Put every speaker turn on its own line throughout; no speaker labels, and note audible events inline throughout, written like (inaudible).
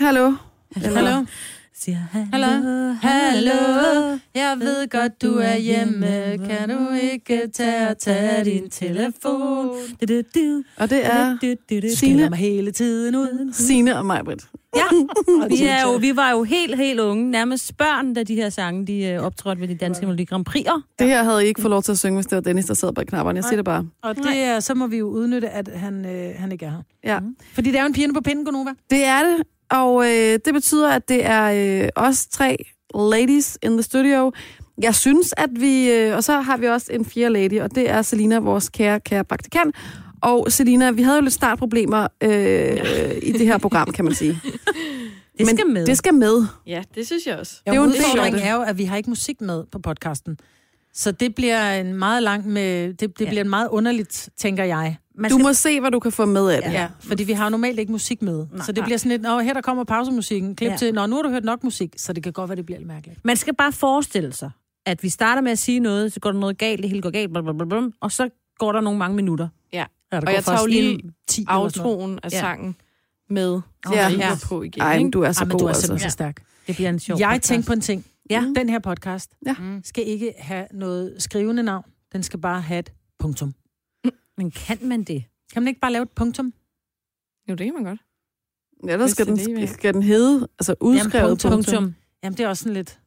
Hallo?
Hallo. Hallo.
Siger
Hallo.
hallo,
Hallo. Jeg ved godt, du er hjemme. Kan du ikke tage og tage din telefon?
Du, du, du,
Og det er
du, du, du.
Signe.
Skælder mig hele
(laughs)
tiden ud.
Sine og Majbrit.
Ja, (laughs) vi, er jo, vi var jo helt, helt unge. Nærmest børn, da de her sange de øh, optrådte ved de danske Melodi Grand Prix'er.
Det her havde I ikke fået lov til at synge, hvis det var Dennis, der sad bag knapperne. Jeg siger det bare.
Og det er, så må vi jo udnytte, at han, øh, han ikke er her.
Ja.
Fordi det er jo en pige på pinden, Gunova.
Det er det, og øh, det betyder, at det er øh, os tre ladies in the studio. Jeg synes, at vi... Øh, og så har vi også en fjerde lady, og det er Selina, vores kære, kære praktikant. Og Selina, vi havde jo lidt startproblemer øh, i det her program, kan man sige.
Det skal med.
Det skal med.
Ja, det synes jeg også.
Ja,
Det er jo en del af
udfordringen
det.
er jo, at vi har ikke musik med på podcasten. Så det bliver en meget lang med, det, det
Ja.
ja. bliver en meget underligt, tænker jeg.
Man
Du
skal-
må se, hvad du kan få med af det.
Ja, fordi vi har jo normalt ikke musik med. Nej, så det
nej.
bliver sådan lidt, Nå, her der kommer pausemusikken, klip
Ja.
ja. til, Nå, nu har du hørt nok musik, så det kan godt være, det bliver lidt mærkeligt.
Man skal bare forestille sig, at vi starter med at sige noget, så går der noget galt, det hele går galt, blablabla, og så går der nogle mange minutter.
Ja, der
Og jeg tager jo lige
10
aftroen af
Ja.
sangen med.
Ja.
Ja.
Ja.
Ja. på igen.
Ej, men
ikke?
du er
Altså,
så
Ej, men
god,
du er
altså.
simpelthen så stærk.
Det bliver en sjov
Jeg
podcast.
tænkte på en ting. Mm.
Ja.
Den her podcast
Ja.
mm. skal ikke have noget skrivende navn. Den skal bare have et punktum.
Mm. Men kan man det?
Kan man ikke bare lave et punktum?
Jo, det kan man godt.
Ja, der
Hvis
skal
det er
den,
det, I vil have.
skal den hedde, altså udskrevet
punktum.
på.
Punktum.
Jamen, det er også sådan lidt...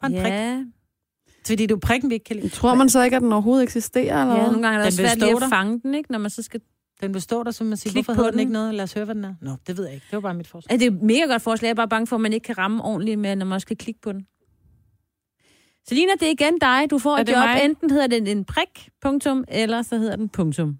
Bare en prik.
Ja.
Fordi det er jo prikken, vi ikke kan lide.
Tror man så ikke, at den overhovedet eksisterer? Eller?
ja,
hvad?
nogle gange er det
Den
også svært lige
består
at
der.
fange den, ikke? Når man så skal...
Den består der, som man siger,
Klik
hvorfor
på
hedder den
den.
ikke noget? Lad os høre, hvad den er. Nå, det ved jeg ikke. Det var bare mit forslag.
Ja, det er et mega godt forslag. Jeg er bare bange for, at man ikke kan ramme ordentligt med, når man også skal klikke på den. Selina, det er igen dig. Du får
Er
et
det
job.
mig?
Enten hedder den en prik, punktum, eller så hedder den punktum.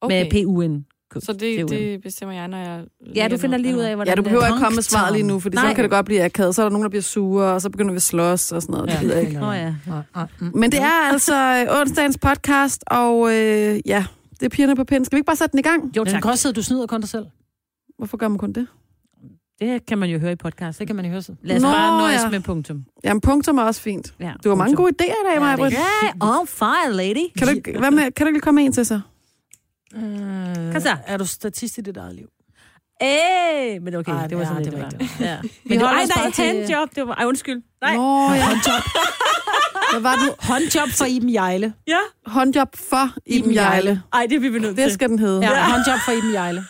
Okay.
Med p-u-n.
Så det, det bestemmer jeg, når jeg...
Ja, du finder lige ud af, hvordan
Ja, du
det er.
behøver ikke komme med svaret lige nu, for
Nej.
så kan det godt blive akavet. Så er der nogen, der bliver sure, og så begynder vi at slås og sådan noget. Det gider jeg ikke.
Nå ja.
Nej, nej, mm.
Men det er altså øh, onsdagens podcast, og øh, ja, det er pigerne på pinden. Skal vi ikke bare sætte den i gang?
Jo,
Men den
tak.
kan også sidde, du snyder kun dig selv.
Hvorfor gør man kun det?
Det kan man jo høre i podcast.
Det kan man jo høre sig.
Lad os
Nå,
bare nøjes
ja.
med punktum.
Jamen, punktum er også fint.
Ja,
Du har mange
punktum.
gode idéer i dag, Maja.
Ja, on fire, lady.
Kan du, ikke- hvad med, kan du ikke lige komme med en til så?
Mm.
Kom så.
Er du statist i dit eget liv?
Æh, men okay,
Ej,
det var
ja,
sådan
det
lidt,
var
det
ikke
var. Ja.
Vi
Men det var,
holder
ej,
os bare
nej,
til-
handjob. Det var, ej, undskyld. Nej,
Nå ja,
Håndjob.
hvad var du?
Håndjob for Iben Jejle.
ja.
Håndjob for Iben
Iben Hjejle.
Jejle.
Ej, det bliver vi nødt
Det
til.
skal den hedde.
Ja, håndjob for Iben Jejle.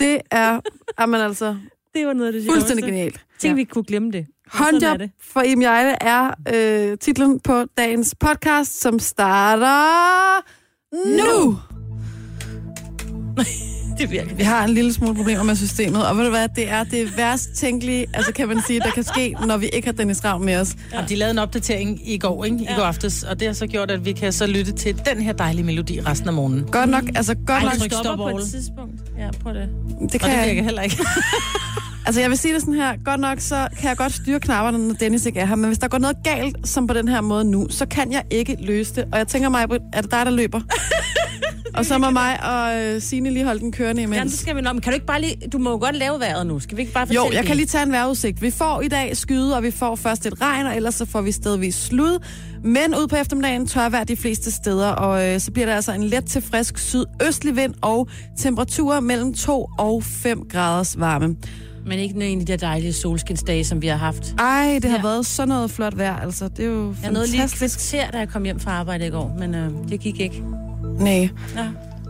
Det er, jamen
(laughs)
altså,
Det var noget af det sjoveste.
fuldstændig genialt.
Tænk, vi kunne glemme det.
Håndjob
det.
for Iben Jejle er øh, titlen på dagens podcast, som starter nu. nu.
(laughs) Det virker.
Vi har en lille smule problemer med systemet, og ved du hvad, det er det værst tænkelige, altså kan man sige, der kan ske, når vi ikke har Dennis Ravn med os.
Ja. Og de lavede en opdatering i går, ikke? I går aftes, og det har så gjort, at vi kan så lytte til den her dejlige melodi resten af morgenen.
Godt nok, altså godt
Ej,
nok,
det
Vi
Tryk
stopper
stop
på et
all.
tidspunkt. Ja, prøv det.
det
Og
kan
det
jeg,
virker heller ikke.
altså jeg vil sige det sådan her, godt nok, så kan jeg godt styre knapperne, når Dennis ikke er her, men hvis der går noget galt, som på den her måde nu, så kan jeg ikke løse det, og jeg tænker mig, er det dig, der løber? og så må mig og øh, Signe lige holde den kørende
Ja, så
imens.
skal vi nå. Men kan du ikke bare lige... Du må jo godt lave vejret nu. Skal vi ikke bare fortælle
altså- Jo, jeg
det?
kan lige tage en vejrudsigt. Vi får i dag skyde, og vi får først et regn, og ellers så får vi stedvis slud. Men ud på eftermiddagen tørvejr de fleste steder, og øh, så bliver der altså en let til frisk sydøstlig vind, og temperaturer mellem 2 og 5 graders varme.
Men ikke en af de der dejlige solskinsdage, som vi har haft.
Ej, det har ja.
Ja.
været sådan noget flot vejr, altså. Det er jo
Jeg nåede lige
fantastisk.
at ser, da jeg kom hjem fra arbejde i går, men øh, det gik ikke.
Nej.
Ja.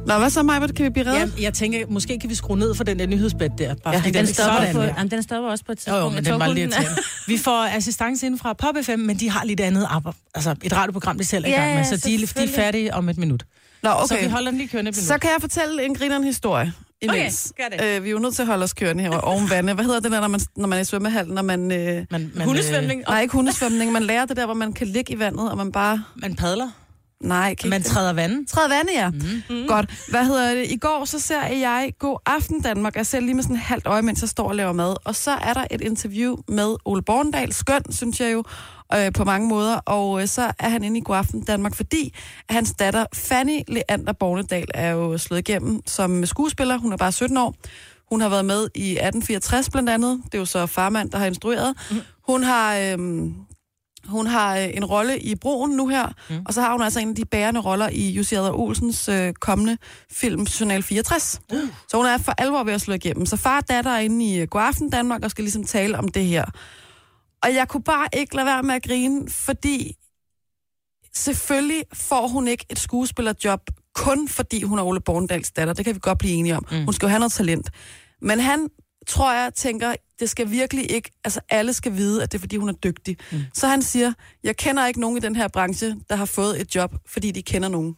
Nå, hvad så, Maja? Kan vi blive reddet?
Ja, jeg tænker, måske kan vi skrue ned for den der nyhedsbæt der. Bare
Ja,
fordi
Den
er
stopper,
sådan
på,
der.
jamen, den stopper også på et
Jo,
tidspunkt.
jo, men
Jeg
den
tror
var
kun,
lidt
er- (laughs)
irriterende. Vi får assistance inden fra Pop FM, men de har lidt andet arbejde. Altså, et radioprogram, de selv er i
Ja,
gang med,
ja,
så de, de er
selvfølgelig.
færdige om et minut.
Nå, okay.
Så vi holder den lige kørende et minut.
Så kan jeg fortælle en grineren historie. Imens.
Okay, gør
Øh, vi er jo nødt til at holde os kørende her oven vande. Hvad hedder det der, når man, når man er i svømmehallen, når man... Øh,
Man, man,
Hundesvømning.
Nej, ikke hundesvømning. Man lærer det der, hvor man kan ligge i vandet, og man bare...
Øh, man padler.
Nej, kan
Man
ikke...
træder vandet. Mhm.
Træde vandet, ja. Mm. Godt. Hvad hedder det? I går så ser jeg God Aften Danmark. Jeg ser lige med sådan et halvt øje, mens jeg står og laver mad. Og så er der et interview med Ole Borndal. Skøn, synes jeg jo, øh, på mange måder. Og øh, så er han inde i God Aften Danmark, fordi at hans datter Fanny Leander Bornedal er jo slået igennem som skuespiller. Hun er bare 17 år. Hun har været med i 1864 blandt andet. Det er jo så farmand, der har instrueret. Hun har... Øh, Hun har øh, en rolle i Broen nu her,
Mm.
mm. og så har hun altså en af de bærende roller i Jussi Adler Olsens øh, kommende film Journal 64. Uh. Så hun er for alvor ved at slå igennem. Så far og datter er inde i øh, Godaften Danmark og skal ligesom tale om det her. Og jeg kunne bare ikke lade være med at grine, fordi selvfølgelig får hun ikke et skuespillerjob kun fordi hun er Ole Borndals datter. Det kan vi godt blive enige om. Mm. Hun skal jo have noget talent. Men han, tror jeg, tænker, det skal virkelig ikke... Altså, alle skal vide, at det er, fordi hun er dygtig. Mm. Så han siger, jeg kender ikke nogen i den her branche, der har fået et job, fordi de kender nogen.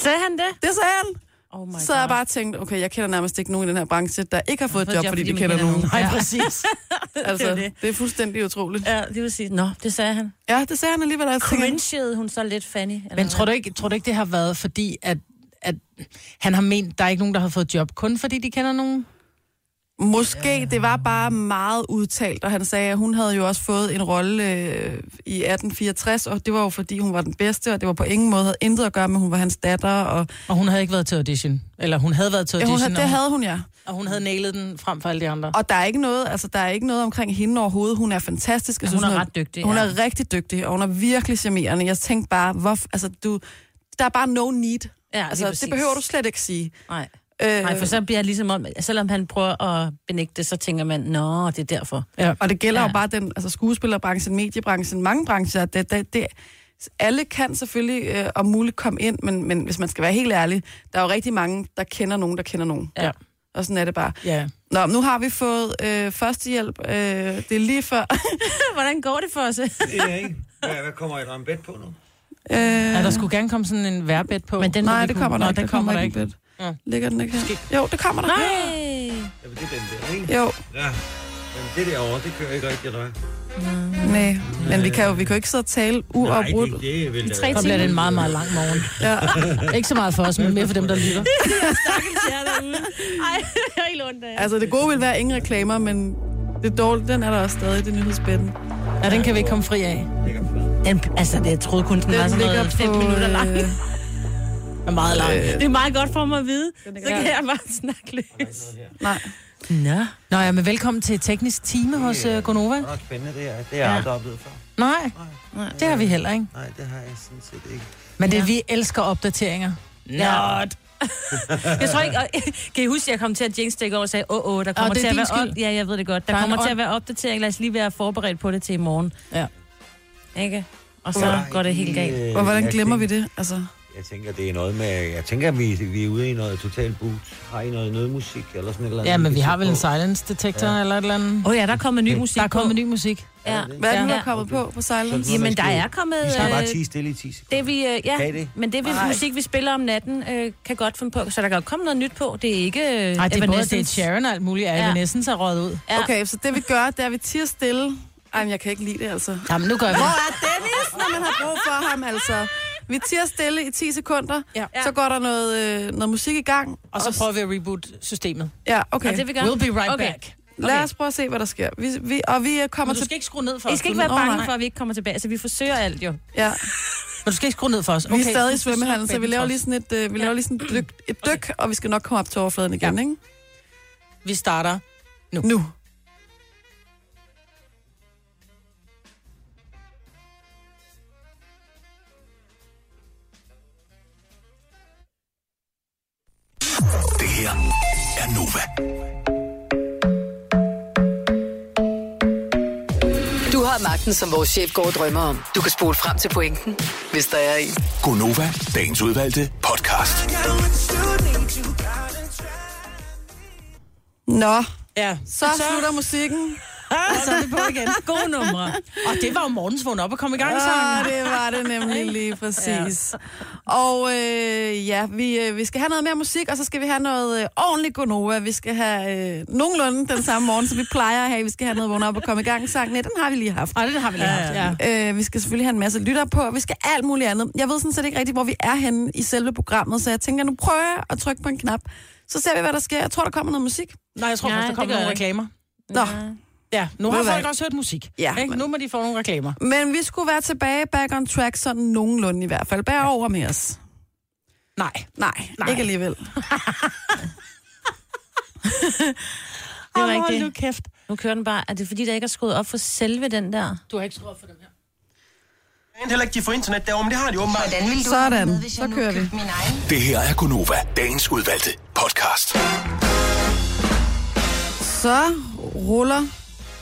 Sagde han det?
Det sagde han!
Oh my
Oh så har jeg bare tænkt, okay, jeg kender nærmest ikke nogen i den her branche, der ikke har fået et job, fordi de
man
kender nogen.
Nej, præcis.
(laughs) Altså,
det er det.
det er fuldstændig utroligt.
Ja, det vil sige,
Nå, det sagde han.
Ja, det sagde han alligevel. og jeg tænker,
cringede hun så lidt Fanny. Eller
Men tror du, ikke, tror du ikke, det har været fordi, at, at han har ment, der er ikke nogen, der har fået job, kun fordi de kender nogen?
Måske, det var bare meget udtalt, og han sagde, at hun havde jo også fået en rolle øh, i 1864, og det var jo fordi, hun var den bedste, og det var på ingen måde, havde intet at gøre med, hun var hans datter, og
Og hun havde ikke været til audition. Eller hun havde været til
ja,
audition,
hun
ja,
havde,
hun
det
havde...
havde hun, ja.
og hun havde nailet den frem for alle de andre.
Og der er ikke noget, altså, der er ikke noget omkring hende overhovedet. Hun er fantastisk. Jeg
Hun
synes,
er ret dygtig,
Hun
ja.
er rigtig dygtig, og hun er virkelig charmerende. Jeg tænkte bare, hvorfor, altså, du, der er bare no need.
Ja,
Altså, det behøver du slet ikke sige.
Nej.
Øh,
Nej, for så bliver det ligesom om, selvom han prøver at benægte det, så tænker man, nå, det er derfor.
Ja.
Og det gælder ja.
Ja.
jo bare den, altså skuespillerbranchen, mediebranchen, mange brancher. at Det, det, det, alle kan selvfølgelig øh, om muligt komme ind, men, men hvis man skal være helt ærlig, der er jo rigtig mange, der kender nogen, der kender nogen.
Ja.
Og sådan er det bare.
ja.
Nå, nu har vi fået øh, førstehjælp. Øh, det er lige
(laughs)
før.
Hvordan går det for os?
Det er jeg ikke. Hvad, hvad kommer I ramme bed på nu?
øh,
ja. der skulle gerne komme sådan en værbed på.
Men den-
nej, det kommer der
Nå,
ikke.
den kommer der ikke.
lidt.
Ja.
Ligger den ikke her? Jo, det kommer
(laughs)
der.
Nej.
Jamen, det er den der, ikke?
Jo,
Ja. Men det derovre, det kører ikke rigtigt, eller hvad?
nej. Men vi kan jo, vi kan jo ikke sidde og tale
Nej,
uafbrudt.
det, det vil
Tre
jeg
Så bliver det en meget, meget lang morgen.
Ja.
Ikke så meget for os, men mere for dem, der lytter.
(laughs)
Ej, det er helt ondt af.
Altså, det gode vil være ingen reklamer, men det dårlige, den er der også stadig, det nyhedsbænden.
Ja, den kan vi ikke komme fri af.
Den, altså, det, jeg troede kun, den, var sådan noget fem minutter lang.
øh,
Den er meget lang.
Det er meget godt for mig at vide. Så
Ja.
kan jeg bare snakke løs.
nej.
Nå. Nå ja, men velkommen til et teknisk time hos uh, Gonova.
Det er nok spændende, det er. Det har jeg aldrig oplevet før.
Nej, det har vi heller ikke.
Nej, det har jeg sådan set ikke.
Men det, vi elsker opdateringer.
Not. jeg tror ikke, og, (laughs) kan I huske, at jeg kom til at jinx det over og sagde, åh, åh, der kommer
det er
til at
din
være
skyld.
op- Ja, jeg ved det godt. Der,
Der er en
kommer til at
ånd.
være opdatering. Lad os lige være forberedt på det til i morgen.
Ja.
Ikke? Og så går det helt galt.
Og hvordan glemmer vi det? Altså,
(laughs) Jeg tænker, det er noget med... Jeg tænker, vi, vi er ude i noget totalt boot. Har I noget nødmusik eller sådan et eller andet?
Ja, men vi
kan
har
sætte
vel en
på?
silence detektor ja. eller et eller andet.
Åh oh, ja, der er kommet ny musik
Der er kommet
på.
ny musik.
Ja.
hvad er det nu, der
Ja.
er kommet på på Silence?
Sådan noget,
Jamen,
man
der
skal-
er kommet...
Vi skal bare
øh,
tige stille i 10 sekunder.
Det vi, øh, ja,
Kan I det?
men det vi musik, vi spiller om natten, øh, kan godt finde på. Så der kan godt komme noget nyt på. Det er ikke øh,
Nej, det er både
Evanescence.
det Sharon og alt muligt. Ja.
Ja.
Evanescence er røget ud.
Ja.
Okay, så det vi gør, det er, at vi tiger stille. Ej, men jeg kan ikke lide det, altså.
Jamen, nu gør vi
Hvor er Dennis, når man har brug for ham, altså? Vi tiger stille i 10 sekunder,
Ja.
ja. så går der noget, øh, noget musik i gang.
Og så prøver vi at reboot systemet.
Ja,
Og
okay.
det vi gør.
We'll be right
okay.
back.
Lad os prøve at se, hvad der sker. Vi, vi, og vi øh, kommer
Men du
til...
skal ikke skrue ned for
I
os.
skal ikke
Du-
være
Åh,
bange
nej.
for, at vi ikke kommer tilbage. Altså, vi forsøger alt jo.
Ja,
Men du skal ikke skrue ned for os.
vi er stadig i
du skal
svømmehallen,
slukke
så vi laver
baby
lige sådan et, øh, vi laver lige sådan et, dyk, et dyk, og vi skal nok komme op til overfladen igen, ikke?
trods. Vi starter.
Nu.
Det her er Nova.
Du har magten, som vores chef går og drømmer om. Du kan spole frem til pointen, hvis der er en.
Gonova, dagens udvalgte podcast.
Nå,
Ja.
så slutter musikken.
(laughs) Og så er vi på igen. Gode numre. Og det var jo morgens vågen op og komme i gang, så.
Ja, det var det nemlig lige præcis. Ja. Og øh, ja, vi, øh, vi skal have noget mere musik, og så skal vi have noget øh, ordentligt Gonova. Vi skal have øh, nogenlunde den samme morgen, som vi plejer at have. Vi skal have noget vågn op og komme i gang sang. Nej, den har vi lige haft.
Ej, det har vi lige haft. Ja.
Øh, vi skal selvfølgelig have en masse lytter på, og vi skal alt muligt andet. Jeg ved sådan set ikke rigtigt, hvor vi er henne i selve programmet, så jeg tænker, nu prøver jeg at trykke på en knap. Så ser vi, hvad der sker. Jeg tror, der kommer noget musik.
Nej, jeg tror
Nej,
først, der
det
kommer
gør
nogle
jeg ikke.
reklamer.
Nå,
Ja, nu
Ved
har
du
folk
hvad?
også hørt musik.
Ja,
ikke?
men-
Nu må de få nogle reklamer.
men vi skulle være tilbage back on track, sådan nogenlunde i hvert fald. Bær over med os.
Nej.
Nej, Nej. ikke alligevel.
Det
er
er rigtigt.
rigtigt.
Hold nu kæft.
Nu kører den bare. Er det fordi, der ikke er skruet op for selve den der?
Du har ikke skruet for dem her.
Jeg heller ikke de får internet derovre, men det har de åbenbart.
Hvordan ville du
Sådan.
have det med, hvis
Så
jeg nu
kører vi.
købte min egen?
Det her er Gunova, dagens udvalgte podcast.
Så ruller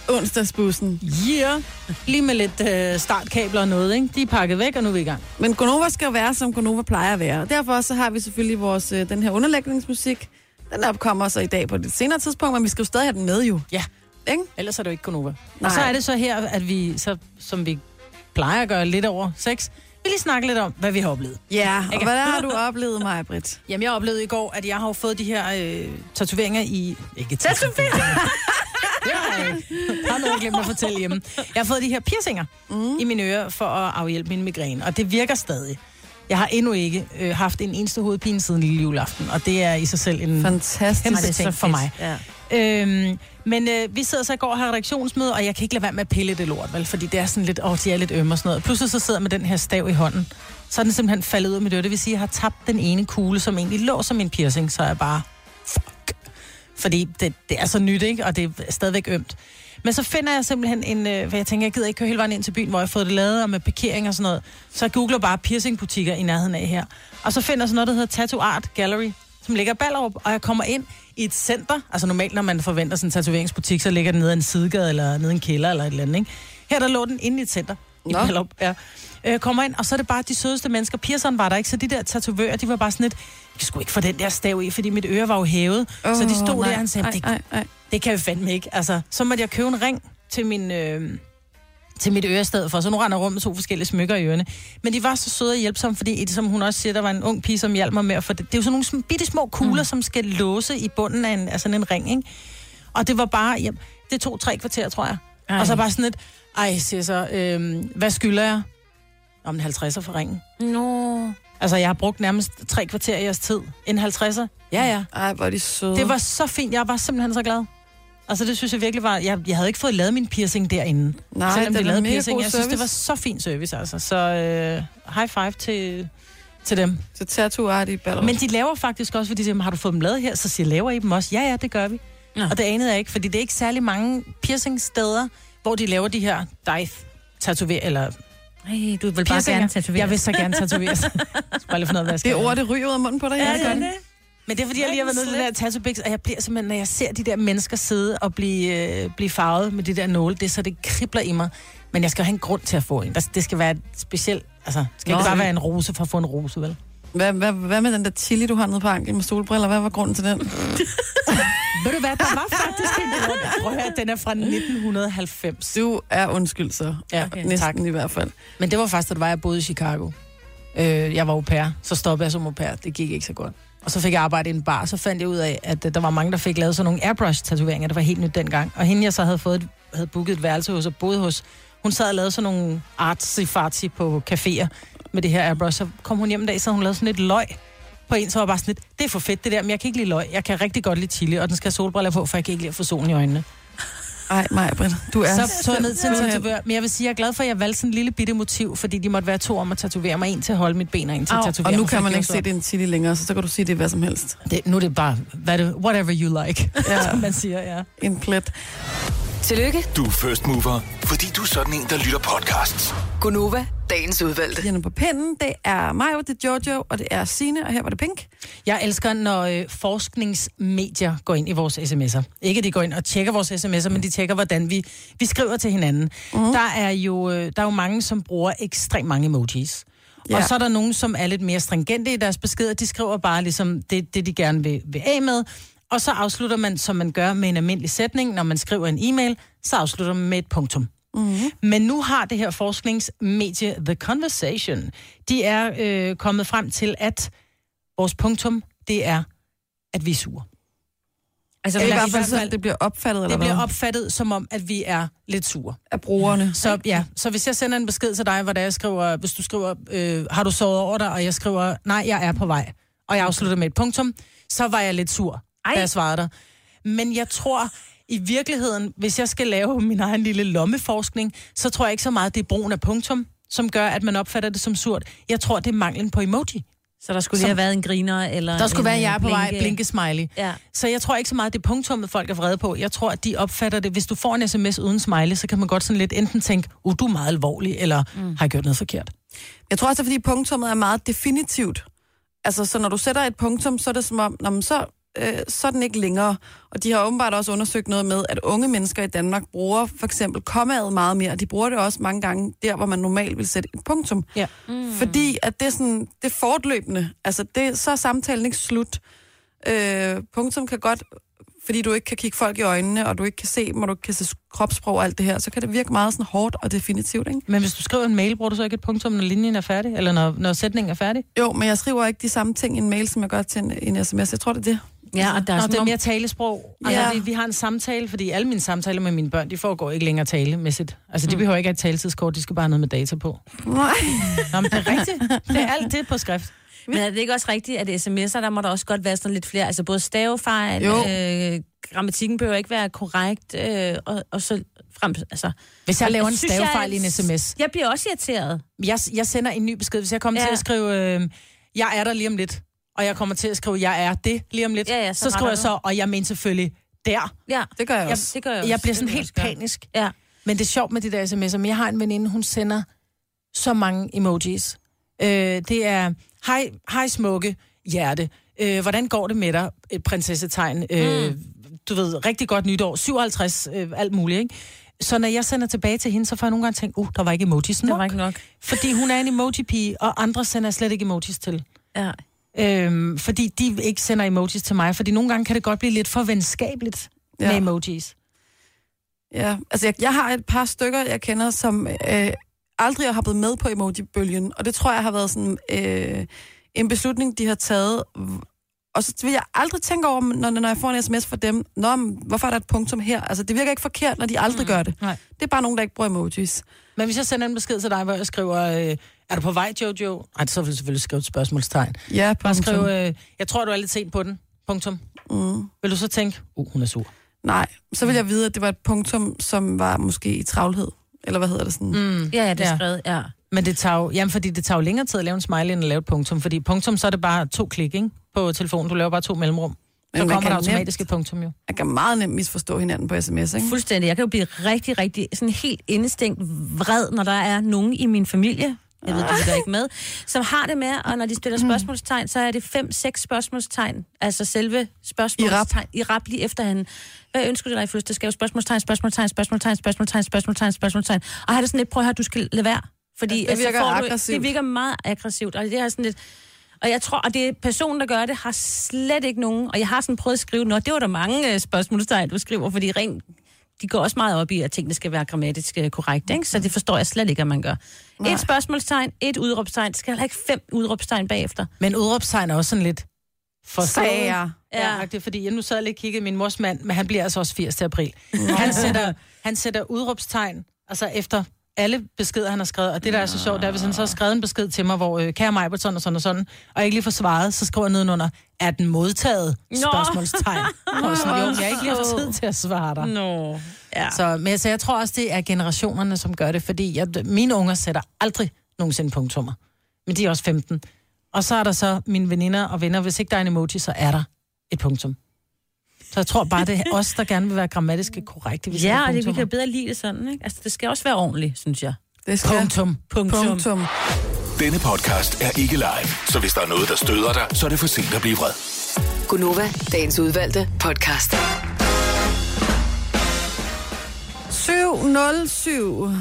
onsdagsbussen.
Yeah. Lige med lidt øh, startkabler og noget, ikke? De er pakket væk, og nu er vi i gang.
Men Gonova skal jo være, som Gonova plejer at være. Og derfor så har vi selvfølgelig vores, øh, den her underlægningsmusik. Den opkommer så i dag på et lidt senere tidspunkt, men vi skal jo stadig have den med jo.
Ja.
Ikke?
Ellers er det jo ikke Konova.
Nej.
Og så er det så her, at vi, så, som vi plejer at gøre lidt over seks, vi lige snakke lidt om, hvad vi har oplevet.
Ja, og
Ikke?
hvad har du oplevet, mig, Britt?
Jamen, jeg oplevede i går, at jeg har jo fået de her øh, tatoveringer i... Ikke tatoveringer! Jeg har noget, jeg glemt at fortælle hjemme. Jeg har fået de her piercinger mm. i mine ører for at afhjælpe min migræne, og det virker stadig. Jeg har endnu ikke øh, haft en eneste hovedpine siden lille juleaften, og det er i sig selv en
Fantastisk.
kæmpe ting for mig.
Ja.
Øhm, men øh, vi sidder så i går og har redaktionsmøde, og jeg kan ikke lade være med at pille det lort, vel? Fordi det er sådan lidt, åh, de er lidt ømme og sådan noget. Pludselig så sidder jeg med den her stav i hånden. Så er den simpelthen faldet ud af mit øre. Det vil sige, at jeg har tabt den ene kugle, som egentlig lå som en piercing, så er jeg bare, fuck. Fordi det, det er så nyt, ikke? Og det er stadigvæk ømt. Men så finder jeg simpelthen en, øh, for jeg tænker, jeg gider ikke køre hele vejen ind til byen, hvor jeg har fået det lavet, og med parkering og sådan noget. Så jeg googler bare piercingbutikker i nærheden af her. Og så finder jeg sådan noget, der hedder Tattoo Art Gallery, som ligger i Ballerup, og jeg kommer ind i et center. Altså normalt, når man forventer sådan en tatoveringsbutik, så ligger den nede ad en sidegade, eller nede i en kælder, eller et eller andet, ikke? Her der lå den inde i et center. I
Nå.
Ballerup, ja. Øh, kommer ind, og så er det bare de sødeste mennesker. Pierceren var der ikke, så de der tatovører, de var bare sådan lidt, jeg skulle ikke få den der stav i, fordi mit øre var jo hævet. Oh, så de stod der, og han sagde, det,
nej, nej.
det kan vi fandme ikke. Altså, så måtte jeg købe en ring til min... Øh, til mit ørested for, så nu render jeg rundt med to forskellige smykker i ørerne. Men de var så søde og hjælpsomme, fordi som hun også siger, der var en ung pige, som hjalp mig med at få det. Det er jo sådan nogle sm- bitte små kugler, mm. som skal låse i bunden af, en, af sådan en ring, ikke? Og det var bare, jamen, det tog tre kvarter, tror jeg. Ej. Og så bare sådan et, ej, siger jeg så, øh, hvad skylder jeg? Om en 50'er for ringen.
Nå.
Altså, jeg har brugt nærmest tre kvarter i jeres tid. En 50'er? Ja, ja.
Ej, hvor er de søde.
Det var så fint. Jeg var simpelthen så glad. Altså, det synes jeg virkelig var... Jeg, jeg havde ikke fået lavet min piercing derinde.
nej, den
selvom de
er
lavede
mega
piercing.
god
Jeg synes, det var
service.
så fin service, altså. Så øh, high five til, til dem.
Så tattoo art i Ballerup.
Men de laver faktisk også, fordi de siger, "Men har du fået dem lavet her? Så siger jeg, laver I dem også? Ja, ja, det gør vi.
Nå.
Ja. Og det anede jeg ikke, fordi det er ikke særlig mange piercingsteder, hvor de laver de her dive tatover eller
Ej, du vil bare
piercinger.
gerne tatovere.
Jeg vil så gerne tatoveres. (laughs)
(laughs)
jeg skal bare lige finde ud af, hvad jeg skal
det
have.
ord, det ryger ud af munden på dig.
Ja,
det gør
ja, det. Men det er, fordi jeg lige har været nede i det der tattoo og jeg bliver simpelthen, når jeg ser de der mennesker sidde og blive, øh, blive farvet med de der nåle, det er så, det kribler i mig. Men jeg skal jo have en grund til at få en. Der- Det skal være et specielt, altså, det skal Nå,
Nå,
ikke bare
okay.
være en rose for at få en rose, vel?
Hvad, hvad, hvad med den der chili, du har nede på anklen med solbriller? Hvad var grunden til den?
(laughs) Ved du hvad, der var faktisk en grund. Prøv at høre, den er fra 1990.
Du er undskyld så.
Ja, okay,
Næsten
tak.
tak. i hvert fald.
Men det var faktisk, da det var, jeg boede i Chicago. Øh, jeg var au pair, så stoppede jeg som au pair. Det gik ikke så godt. Og så fik jeg arbejde i en bar, så fandt jeg ud af, at øh, der var mange, der fik lavet sådan nogle airbrush-tatoveringer. Det var helt nyt dengang. Og hende, jeg så havde, fået, havde booket et værelse hos og boede hos, hun sad og lavede sådan nogle artsy-fartsy på caféer med det her airbrush. Så kom hun hjem en dag, så havde hun lavede sådan et løg på en, så var jeg bare sådan lidt, det er for fedt det der, men jeg kan ikke lide løg. Jeg kan rigtig godt lide chili, og den skal have solbriller på, for jeg kan ikke lide at få solen i øjnene.
Ej, mig, Britt. Du er
Så tog jeg ned til en
simpelthen-
tatovør. Men jeg vil sige, jeg er glad for, at jeg valgte sådan en lille bitte motiv, fordi de måtte være to om at tatovere mig. En til at holde mit ben, og en til at
Au,
tatovere
Og nu
mig, for
kan
det
man
gjorde
ikke
så
se det er en chili længere, så så kan du sige det er hvad som helst.
ondt. det. Nu er det bare, hvad det, whatever you like, (laughs)
Ja.
ja. som man siger, ja.
En plet.
Tillykke,
Du er first mover, fordi du er sådan en, der lytter podcasts.
Gunova, dagens udvalgte.
Pigerne på pinden, det er mig, det er Jojo, og det er Sine, og her var det Pink.
Jeg elsker, når øh, forskningsmedier går ind i vores sms'er. Ikke, at de går ind og tjekker vores sms'er, men de tjekker, hvordan vi, vi skriver til hinanden. Mm.
Mhm.
Der, er jo, øh, der er jo mange, som bruger ekstremt mange emojis. Ja. Og
Ja.
så er der nogen, som er lidt mere stringente i deres beskeder. De skriver bare ligesom det, det de gerne vil, vil af med. Og så afslutter man, som man gør med en almindelig sætning, når man skriver en e-mail, så afslutter man med et punktum.
Mhm.
Men nu har det her forskningsmedie The Conversation, de er øh, kommet frem til, at vores punktum, det er, at vi er sure.
Altså,
Det er i
Eller
hvert fald sådan, det bliver opfattet, eller
Det bliver
hvad?
opfattet som om, at vi er lidt sure.
af brugerne.
Så, ja, så hvis jeg sender en besked til dig, hvor det er, jeg skriver, hvis du skriver, øh, har du sovet over dig, og jeg skriver, nej, jeg er på vej, og jeg afslutter med et punktum, så var jeg lidt sur, Ej. da jeg svarede dig. Men jeg tror, i virkeligheden, hvis jeg skal lave min egen lille lommeforskning, så tror jeg ikke så meget, det er brugen af punktum, som gør, at man opfatter det som surt. Jeg tror, det er manglen på emoji,
Så der skulle lige
Som-
have været en griner, eller...
Der skulle
en,
være
øh,
jeg er på vej,
blinke-
blinke smiley.
Ja.
Så jeg tror ikke så meget, det er punktummet, folk er vrede på. Jeg tror, at de opfatter det. Hvis du får en sms uden smiley, så kan man godt sådan lidt enten tænke, uh, du er meget alvorlig, eller mm. har jeg gjort noget forkert.
Jeg tror også, det er, fordi punktummet er meget definitivt. Altså, så når du sætter et punktum, så er det som om, nå, men så, øh, så er den ikke længere. Og de har åbenbart også undersøgt noget med, at unge mennesker i Danmark bruger for eksempel kommaet meget mere, og de bruger det også mange gange der, hvor man normalt vil sætte et punktum.
Ja.
Mm. Fordi at det er, sådan, det er fortløbende. Altså, det, så er samtalen ikke slut. Øh, punktum kan godt fordi du ikke kan kigge folk i øjnene, og du ikke kan se dem, og du ikke kan se kropssprog og alt det her, så kan det virke meget sådan hårdt og definitivt, ikke?
Men hvis du skriver en mail, bruger du så ikke et punktum, når linjen er færdig, eller når, når sætningen er færdig?
Jo, men jeg skriver ikke de samme ting i en mail, som jeg gør til en, en sms. Jeg tror, det er det.
Ja, og der er
Nå,
sådan
det er
om-
mere talesprog.
Ja.
Ja. Altså, vi, vi har en samtale, fordi alle mine samtaler med mine børn, de foregår ikke længere talemæssigt. Altså,
Mm.
de behøver ikke have et taletidskort, de skal bare have noget med data
(laughs)
på.
Nej.
Nå, men det er rigtigt. Det er alt det på skrift.
Men er det ikke også rigtigt, at sms'er, der må der også godt være sådan lidt flere, altså både stavefejl,
Jo.
øh, grammatikken behøver ikke være korrekt, øh, og, og så frem, altså...
Hvis jeg laver en
Synes
stavefejl i en sms,
Jeg bliver også irriteret.
jeg, jeg sender en ny besked. Hvis jeg kommer ja.
Ja.
til at skrive, øh, jeg er der lige om lidt, og jeg kommer til at skrive, jeg er det lige om lidt,
Ja, ja, så
så, så skriver
retter
jeg
du.
så, og jeg mener selvfølgelig der.
Ja,
Det gør jeg
Jeg,
også.
det gør jeg også.
jeg bliver
Det
sådan
vil jeg
helt
også gøre.
panisk.
Ja.
Men det er sjovt med de der sms'er. Men jeg har en veninde, hun sender så mange emojis. Øh, det er, hej, hej smukke, hjerte. Øh, hvordan går det med dig? Et prinsessetegn. Øh, mm. Du ved, rigtig godt nytår. 57, øh, alt muligt, ikke? Så når jeg sender tilbage til hende, så får jeg nogle gange tænkt, uh, der var ikke emojis nok.
Det var ikke nok.
Fordi hun er en emoji-pige, og andre sender jeg slet ikke emojis til.
Ja.
Øhm, fordi de ikke sender emojis til mig. Fordi nogle gange kan det godt blive lidt for venskabeligt ja.
Ja.
med emojis.
Ja. Altså, jeg, jeg har et par stykker, jeg kender, som øh, aldrig har hoppet med på emoji-bølgen. Og det tror jeg har været sådan øh, en beslutning, de har taget. Og så vil jeg aldrig tænke over, når, når jeg får en sms fra dem, Nå, men hvorfor er der et punktum her? Altså, det virker ikke forkert, når de aldrig gør det.
Mm, Nej.
Det er bare nogen, der ikke bruger emojis.
Men hvis jeg sender en besked til dig, hvor jeg skriver, øh, er du på vej, Jojo? Ej, så vil jeg selvfølgelig skrive et spørgsmålstegn.
Ja,
Bare skrive, øh, jeg tror, du er lidt sent på den. Punktum.
Mm.
Vil du så tænke, uh, hun er sur.
Nej, så vil jeg vide, at det var et punktum, som var måske i travlhed. Eller hvad hedder det sådan?
Mm.
Ja, ja, det er
Ja.
skrevet, ja.
Men det tager jo, jamen, fordi det tager jo længere tid at lave en smiley, end at lave et punktum. Fordi punktum, så er det bare to klik, ikke? På telefonen, du laver bare to mellemrum. Så
man
kommer
kan
der automatisk
nemt-
et punktum, jo.
Jeg kan meget nemt misforstå hinanden på sms, ikke?
Fuldstændig. Jeg kan jo blive rigtig, rigtig sådan helt indestængt vred, når der er nogen i min familie, jeg ved, du lytter ikke med, som har det med, og når de stiller spørgsmålstegn, så er det fem-seks spørgsmålstegn, altså selve spørgsmålstegn, i rap lige efter han. Hvad ønsker du dig i fødselsdagsgave? Spørgsmålstegn, spørgsmålstegn, spørgsmålstegn, spørgsmålstegn, spørgsmålstegn, spørgsmålstegn. Og har det sådan lidt, prøv at høre, du skal lade være. Fordi
Ja, det
altså,
virker
får du-
aggressivt.
Det virker meget aggressivt, og det er sådan lidt... Og jeg tror, at det er personen, der gør det, har slet ikke nogen... Og jeg har sådan prøvet at skrive, noget. det var der mange øh, spørgsmålstegn, du skriver, fordi rent de går også meget op i, at tingene skal være grammatisk øh, korrekte, ikke? så det forstår jeg slet ikke, at man gør. Nej. Et spørgsmålstegn, et udråbstegn, skal heller ikke fem udråbstegn bagefter.
Men udråbstegn er også sådan lidt for
Sager.
Ja.
Ja. ja. Fordi jeg nu sad jeg lige og kiggede min mors mand, men han bliver altså også 80. til april. Han sætter, han sætter udråbstegn, altså efter alle beskeder, han har skrevet. Og det, der er så sjovt, det er, hvis han så har skrevet en besked til mig, hvor øh, kære mig, og sådan og sådan og sådan, og jeg ikke lige får svaret, så skriver jeg nedenunder, er den modtaget? Spørgsmålstegn. Og sådan, jo, jeg har ikke lige haft tid til at svare dig.
Nå. Ja. Så.
Så, men altså, jeg tror også, det er generationerne, som gør det, fordi jeg, mine unger sætter aldrig nogensinde punktummer. Men de er også 15. Og så er der så mine veninder og venner. Hvis ikke der er en emoji, så er der et punktum. Så jeg tror bare, det er os, der gerne vil være grammatisk korrekte. hvis der
Ja,
er
og det, vi
punktummer.
kan bedre lide det sådan, ikke? Altså, det skal også være ordentligt, synes jeg.
Det skal
Punktum.
Punktum.
punktum.
Denne podcast er ikke live, så hvis der er noget, der støder dig, så er det for sent at blive vred.
Gunova, dagens udvalgte podcast.
707.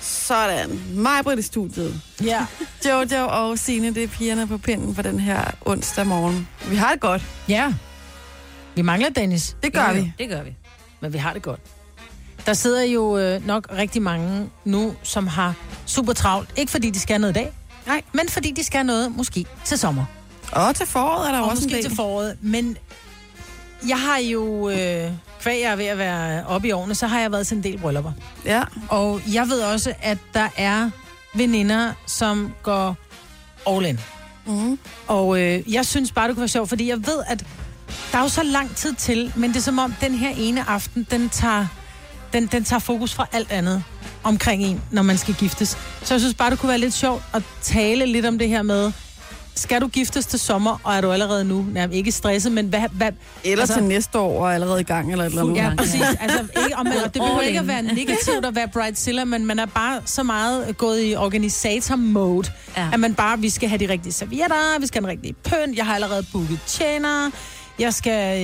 Sådan. Mig i studiet.
Ja.
(laughs) Jojo og Signe, det er pigerne på pinden for den her onsdag morgen. Vi har det godt.
ja. Vi mangler Dennis,
Det gør vi.
Det gør vi.
men vi har det godt. Der sidder jo øh, nok rigtig mange nu, som har super travlt. Ikke fordi de skal noget i dag,
Nej.
men fordi de skal noget måske til sommer.
Og til foråret er der
Og
også en
måske
del.
til foråret, men jeg har jo, øh, kvæg jeg er ved at være oppe i årene, så har jeg været til en del bryllupper.
Ja.
Og jeg ved også, at der er veninder, som går all in.
Mm.
Og øh, jeg synes bare, det kunne være sjovt, fordi jeg ved, at der er jo så lang tid til, men det er som om, den her ene aften, den tager, den, den tager fokus fra alt andet omkring en, når man skal giftes. Så jeg synes bare, det kunne være lidt sjovt at tale lidt om det her med, skal du giftes til sommer, og er du allerede nu nærmest ikke stresset, men hvad... hvad
Eller altså,
altså,
til næste år og er allerede i gang, eller et eller andet.
Ja,
Ja.
(laughs) præcis. Altså, ikke, og man, og det behøver
All
ikke at
in.
være negativt at være bridezilla, men man er bare så meget gået i organisator-mode,
Ja.
ja. at man bare, vi skal have de rigtige servietter, vi skal have den rigtige pynt, jeg har allerede booket tjenere, jeg skal,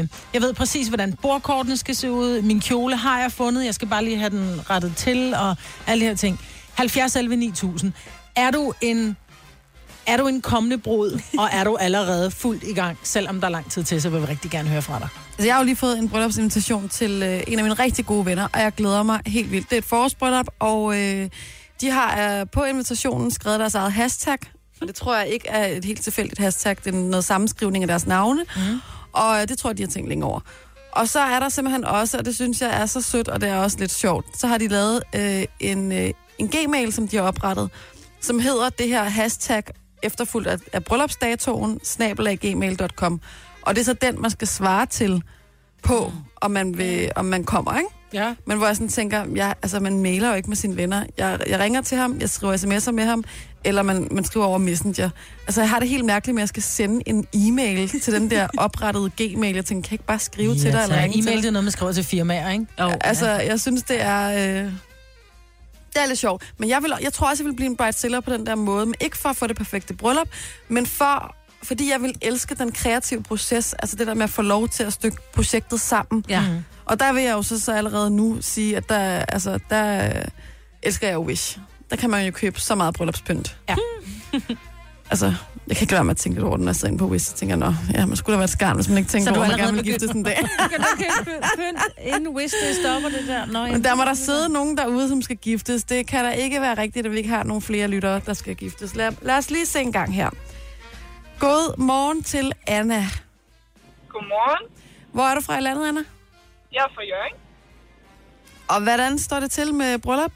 øh, jeg ved præcis, hvordan bordkortene skal se ud, min kjole har jeg fundet, jeg skal bare lige have den rettet til, og alle de her ting. 70 11 9000. Er du en er du en kommende brud, og er du allerede fuldt i gang, selvom der er lang tid til, så vil vi rigtig gerne høre fra dig.
Altså, jeg har jo lige fået en bryllupsinvitation til øh, en af mine rigtig gode venner, og jeg glæder mig helt vildt. Det er et forårsbryllup, og øh, de har øh, på invitationen skrevet deres eget hashtag. Og det tror jeg ikke er et helt tilfældigt hashtag. Det er noget sammenskrivning af deres navne. Mm. Og øh, det tror jeg, de har tænkt længe over. Og så er der simpelthen også, og det synes jeg er så sødt, og det er også lidt sjovt, så har de lavet øh, en, øh, en gmail, som de har oprettet, som hedder det her hashtag efterfulgt af, af bryllupsdatoen, snabelaggmail.com. Og det er så den, man skal svare til på, om man, vil, om man kommer, ikke?
Ja.
Men hvor jeg sådan tænker, jeg, altså man mailer jo ikke med sine venner. Jeg, jeg ringer til ham, jeg skriver sms'er med ham, eller man, man skriver over Messenger. Altså jeg har det helt mærkeligt med, at jeg skal sende en e-mail til den
(laughs)
der oprettede gmail. Jeg tænker, kan jeg ikke bare skrive ja, til dig eller
Ja,
ringe
e-mail
til
det
dig?
er noget, man skriver til firmaer, ikke?
Oh,
Altså jeg synes, det er... Øh, det er lidt sjovt. Men jeg, vil, jeg tror også, jeg vil blive en bridezilla på den der måde. Men ikke for at få det perfekte bryllup, men for fordi jeg vil elske den kreative proces, altså det der med at få lov til at stykke projektet sammen.
ja.
Mm.
Og der vil jeg jo så, så allerede nu sige, at der, altså, der øh, elsker jeg jo Wish. Der kan man jo købe så meget bryllupspynt.
Ja.
altså, jeg kan ikke lade være med at tænke lidt over, når jeg sidder inde på Wish, så tænker jeg, nå, ja, man skulle da være et skarn, hvis man ikke tænker
Så du
over, at man
allerede
gerne vil gifte sådan en
(laughs)
dag.
Kan du købe pynt, inden Wish det stopper det der? Nå,
Men der må der sidde nogen derude, som skal giftes. Det kan da ikke være rigtigt, at vi ikke har nogen flere lyttere, der skal giftes. Lad, lad os lige se en gang her. God morgen til Anna.
Godmorgen.
Hvor er du fra i landet, Anna?
Jeg er fra Jørgen.
Og hvordan står det til med bryllup?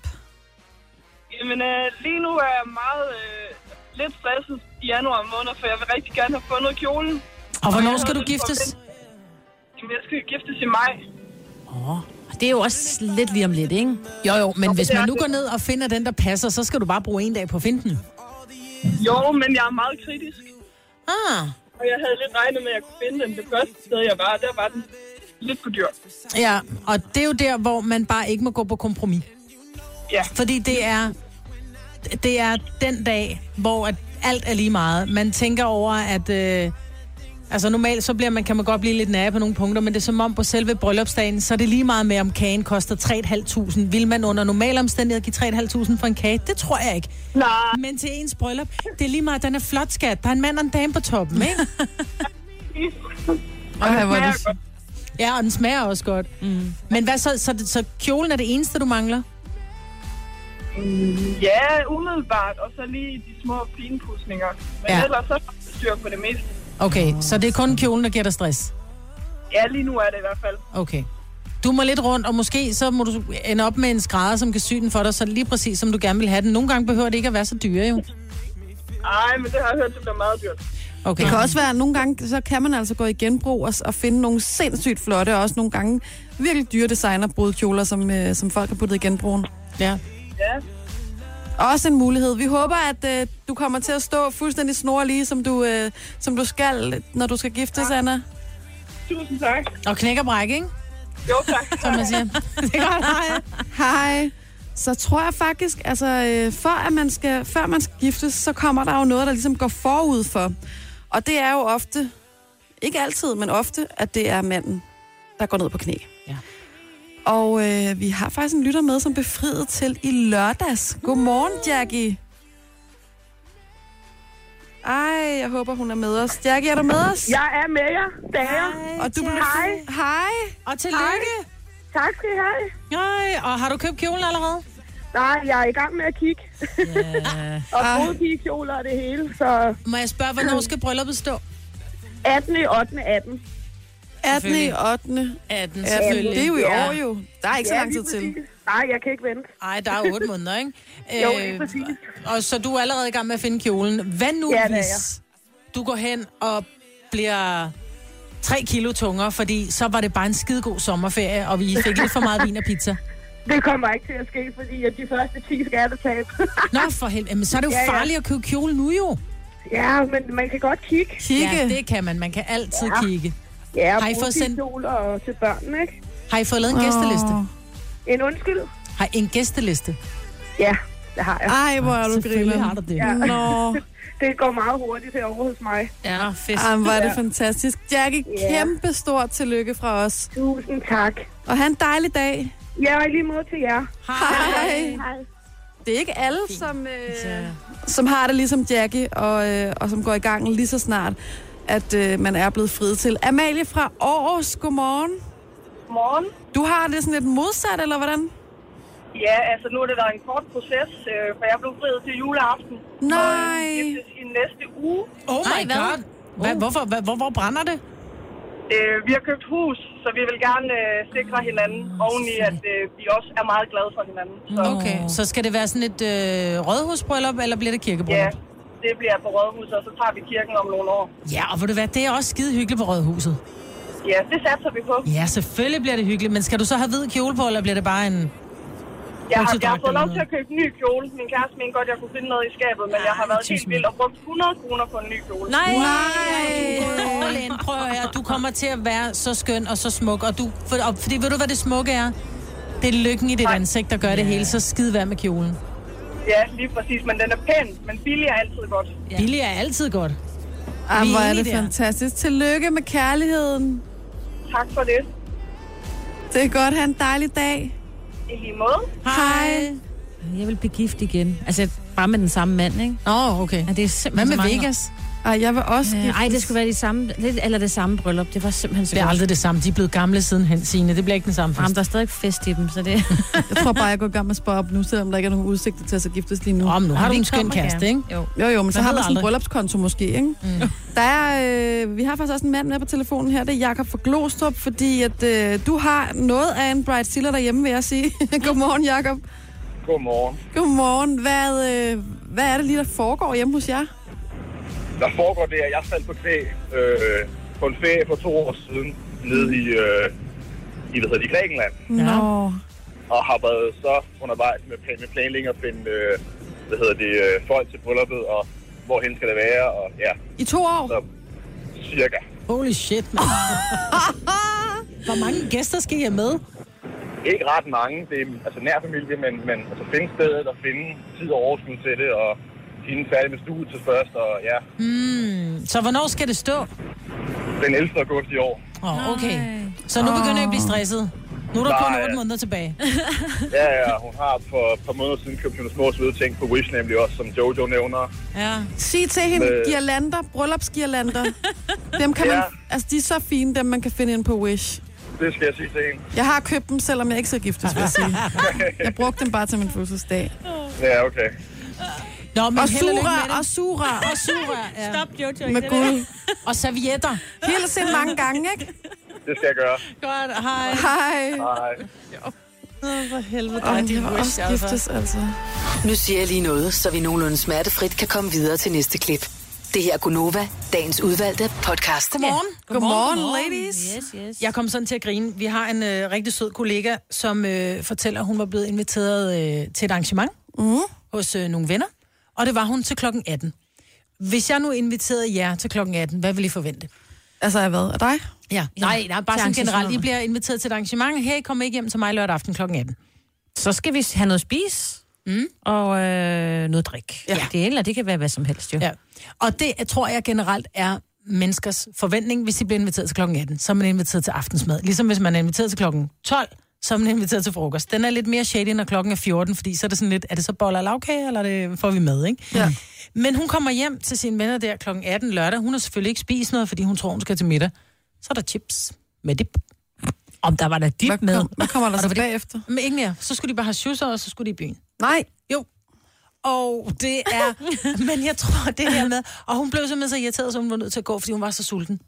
Jamen, øh, lige nu er jeg meget øh, lidt stresset i januar måned, for jeg vil rigtig gerne have fundet kjolen.
Og hvornår
jeg
skal du
havde lidt
giftes?
Jamen, jeg skal jo giftes i maj.
Det er jo også lidt lige om lidt, ikke?
Jo, jo, men hvis
det
man
er
nu
det.
går ned og finder den, der passer, så skal du bare bruge en dag på at finde den.
Jo, men jeg er meget kritisk.
Ah,
Og jeg havde lidt regnet med, at jeg kunne finde den. Det første sted, jeg var, der var den lidt for dyr.
ja, og det er jo der, hvor man bare ikke må gå på kompromis.
Ja.
Fordi det er, det er den dag, hvor at alt er lige meget. Man tænker over, at... Øh, altså normalt, så bliver man, kan man godt blive lidt nære på nogle punkter, men det er som om på selve bryllupsdagen, så er det lige meget med, om kagen koster 3.500. Vil man under normale omstændigheder give 3.500 for en kage? Det tror jeg ikke.
Nej,
Men til ens bryllup, det er lige meget, den er flot, skat. Der er en mand og en dame på
(laughs)
toppen, ikke?
Okay, hvor er
jeg
det
godt.
Ja, og den smager også godt. Mm. Men hvad så, så, så kjolen er det eneste, du mangler?
Ja, umiddelbart. Og så lige de små finpudsninger. Men
Ja.
ja. ellers så er der styr på det meste.
Okay, så det er kun kjolen, der giver dig stress.
Ja, lige nu er det i hvert fald.
Okay. Du må lidt rundt, og måske så må du ende op med en skrædder, som kan sy den for dig, så lige præcis som du gerne vil have den. Nogle gange behøver det ikke at være så dyre, jo.
Ej, men det har jeg hørt, det bliver meget dyrt.
Okay.
Det kan også være, at nogle gange, så kan man altså gå i genbrug og, og finde nogle sindssygt flotte, og også nogle gange virkelig dyre designerbrudkjoler, som, øh, som folk har puttet i genbrugen.
Ja.
Ja.
Også en mulighed. Vi håber, at øh, du kommer til at stå fuldstændig snor lige, som du, øh, som du skal, når du skal giftes, Anna.
Tusind tak.
Og knæk og bræk, ikke?
Jo, tak.
(laughs) Som man siger. det er godt, hej.
Hej. Så tror jeg faktisk, altså øh, før, at man skal, før man skal giftes, så kommer der jo noget, der ligesom går forud for. Og det er jo ofte, ikke altid, men ofte, at det er manden, der går ned på knæ.
Ja.
Og øh, vi har faktisk en lytter med, som befriede til i lørdags. Godmorgen, Jackie. Ej, jeg håber, hun er med os. Jackie, er du med os?
Jeg er med jer. Det er jeg.
Og du blev...
Hej.
Hej.
Og tillykke.
Tak skal I have.
Nej, og har du købt kjolen allerede?
Nej, jeg er i gang med at kigge. (laughs) og brudpigekjoler og det hele, så
Ah. Må jeg spørge, hvornår skal brylluppet stå?
18. i 8. 18.
18. i 8.
18,
Ja, men det er jo i
Ja.
år jo. Der er ikke så
Ja,
lang tid
lige
til.
præcis. Nej, jeg kan ikke vente.
Ej, der er otte måneder, ikke?
(laughs)
Øh,
Jo, lige præcis.
Og så du er allerede i gang med at finde kjolen. Hvad nu,
Ja, det er
hvis du går hen og bliver tre kilo tungere, fordi så var det bare en skidegod sommerferie, og vi fik lidt for meget vin og pizza.
Det kommer ikke til at ske, fordi at de første 10 skal jeg da tabe.
Nå, for helvede. Men så er det jo
Ja, ja.
farligt at købe kjole nu jo.
Ja, men man kan godt kigge.
Kigge.
Ja, det kan man. Man kan altid ja. kigge.
Ja, og
Har I
bruge
fået
sin
sendt-
sol og til børnene, ikke?
Har I fået lavet en oh. gæsteliste?
En undskyld?
Har I en gæsteliste?
Ja, det har jeg.
Ej, hvor er du
Selvfølgelig
griner.
har du det.
Ja.
Nå,
(laughs) Det går meget hurtigt herovre hos mig.
Ja, fedt.
ej, hvor er det fantastisk. Jackie,
Ja.
kæmpe stort tillykke fra os.
Tusind tak.
Og have en dejlig dag.
Ja, og i lige måde til jer.
Hej. Det er ikke alle, som, øh, som har det ligesom Jackie, og, øh, og som går i gang lige så snart, at øh, man er blevet friet til. Amalie fra Aarhus, godmorgen.
Morgen.
Du har det sådan lidt modsat, eller hvordan?
Ja, altså nu er det da en kort proces, øh, for jeg blev friet til juleaften. øh,
Nej.
Efter sin næste uge.
Oh my
Ej, hvad?
god. Hvad, hvorfor, hvad, hvor, hvor brænder det?
Øh, vi har købt hus, så vi vil gerne øh, sikre hinanden oveni, at øh, vi også er meget glade for hinanden. Så
Okay, så skal det være sådan et øh, rådhusbryllup, eller bliver det kirkebryllup?
ja, det bliver på Rådhuset, og så tager vi kirken om nogle år.
Ja, og vil du være, det er også skide hyggeligt på rådhuset.
Ja, det satser vi på.
Ja, selvfølgelig bliver det hyggeligt, men skal du så have hvid kjole på, eller bliver det bare en...
Jeg har, jeg har
Oksedragt
fået
eller
lov til at købe en ny kjole. Min kæreste mente godt, jeg kunne finde noget i skabet, men jeg har været helt
tusind.
vild og brugt 100 kroner på en ny kjole.
Nej.
Hey. All in. Prøv at høre, du kommer til at være så skøn og så smuk, og du... For, og, fordi ved du, hvad det smukke er? Det er lykken i dit ansigt, der gør det hele, så skide vær med kjolen.
Ja, lige præcis. Men den er pæn, men billig er altid godt.
Ja. Billig er altid godt.
Ej, hvor er
enige
det
der.
fantastisk. Tillykke med kærligheden.
Tak for det.
Det er godt, have en dejlig dag.
I lige måde.
Hej.
Jeg vil blive gift igen. Altså, bare med den samme mand, ikke?
Åh, oh, okay.
Ja, det er
Hvad
simpelthen
med
så mange
Vegas?
Ej, jeg vil også
år.
giftes.
Øh, Ej, det skulle være det samme, lidt, eller det samme bryllup. Det var simpelthen så
Det er
godt.
aldrig det samme. De er blevet gamle sidenhen, Signe. Det bliver ikke den samme
Jamen,
fest.
der er stadig fest i dem, så det...
Jeg tror bare, jeg går i gang med at spare op nu, selvom der ikke er nogen udsigter til at så giftes lige nu.
Om nu har du
Vi
en skøn
kommer
kæreste,
gerne.
ikke?
Jo.
Jo, jo, men så
Man
har
ved
man sådan en
aldrig.
bryllupskonto måske, ikke? Mm. Der er, øh, vi har faktisk også en mand med på telefonen her, det er Jakob fra Glostrup, fordi at, øh, du har noget af en bright sealer derhjemme, vil jeg sige. (laughs) Godmorgen, Jakob.
Godmorgen.
Godmorgen. Hvad, øh, hvad er det lige, der foregår hjemme hos jer?
Der foregår det, at jeg faldt på knæ øh, på en ferie for to år siden nede i, øh, i, hvad hedder det, i Grækenland.
Ja. Nå.
Og har været så undervejs med, plan- med planlægning at finde øh, hvad hedder det, øh, folk til brylluppet, og hvorhen skal det være, og ja,
I to år?
cirka.
Holy shit,
(laughs)
man. Hvor mange gæster skal I have med?
Ikke ret mange, det er altså nær familie, men, men altså finde stedet og finde tid og overskud til det, og inden færdig med studiet til først, og ja,
Hmm, Så hvornår skal det stå?
den 11. august i år.
Oh, okay. Så nu begynder jeg
Ah.
at blive stresset. Nu er der kun
Nej.
8 måneder tilbage.
Ja, ja, hun har for et par måneder siden købt nogle små søde ting på Wish, nemlig også, som Jojo nævner.
Ja.
Sig til hende,
Øh.
girlander, bryllupsgirlander. dem kan man,
Ja.
altså, de er så fine, dem man kan finde ind på Wish.
Det skal jeg sige til hende.
Jeg har købt dem, selvom jeg ikke skal giftes, vil jeg
(laughs)
sige. Jeg brugte dem bare til min fødselsdag.
Ja, okay.
Nå, men
Og
held og lykke med det.
sugerør, og sugerør.
Og sugerør, ja.
Stop, Jojo.
Med guld.
Og servietter.
Hils
(laughs)
hende mange gange, ikke?
Det skal jeg gøre.
Godt, hej.
Hej.
Hej.
For helvede.
Og de var også giftes, altså.
Nu siger jeg lige noget, så vi nogenlunde smertefrit kan komme videre til næste klip. Det her er Gunova, dagens udvalgte podcast.
Godmorgen.
Godmorgen, ladies.
Yes, yes.
Jeg kom sådan til at grine. Vi har en øh, rigtig sød kollega, som øh, fortæller, at hun var blevet inviteret øh, til et arrangement mm. hos øh, nogle venner, og det var hun til klokken 18. Hvis jeg nu inviterede jer til klokken 18, hvad vil I forvente?
Altså, jeg hvad? Og dig?
Ja. Nej, nej, bare
Til
sådan generelt. I
arrangementer.
bliver inviteret til et arrangement. Her I kommer ikke hjem til mig lørdag aften klokken 18.
Så skal vi have noget at spise. Mm. Og øh, noget drik. Ja. Det, eller det kan være hvad som helst, jo.
Ja. Og det jeg tror jeg generelt er menneskers forventning, hvis de bliver inviteret til klokken 18, så er man inviteret til aftensmad. Ligesom hvis man er inviteret til klokken 12, så er man inviteret til frokost. Den er lidt mere shady, når klokken er 14, fordi så er det sådan lidt, er det så boller og lavkage, eller er det får vi med, ikke?
Ja.
Men hun kommer hjem til sine venner der klokken 18 lørdag. Hun har selvfølgelig ikke spist noget, fordi hun tror, hun skal til middag. Så er der chips med dip.
Om der var der
Hvad,
dip med.
kom, hvad kommer der så bagefter?
Men ikke mere. Så skulle de bare have shoes, og så skulle de i byen.
Nej.
Og det er... (laughs) men jeg tror, det her med... Og hun blev simpelthen så irriteret, så hun var nødt til at gå, fordi hun var så sulten.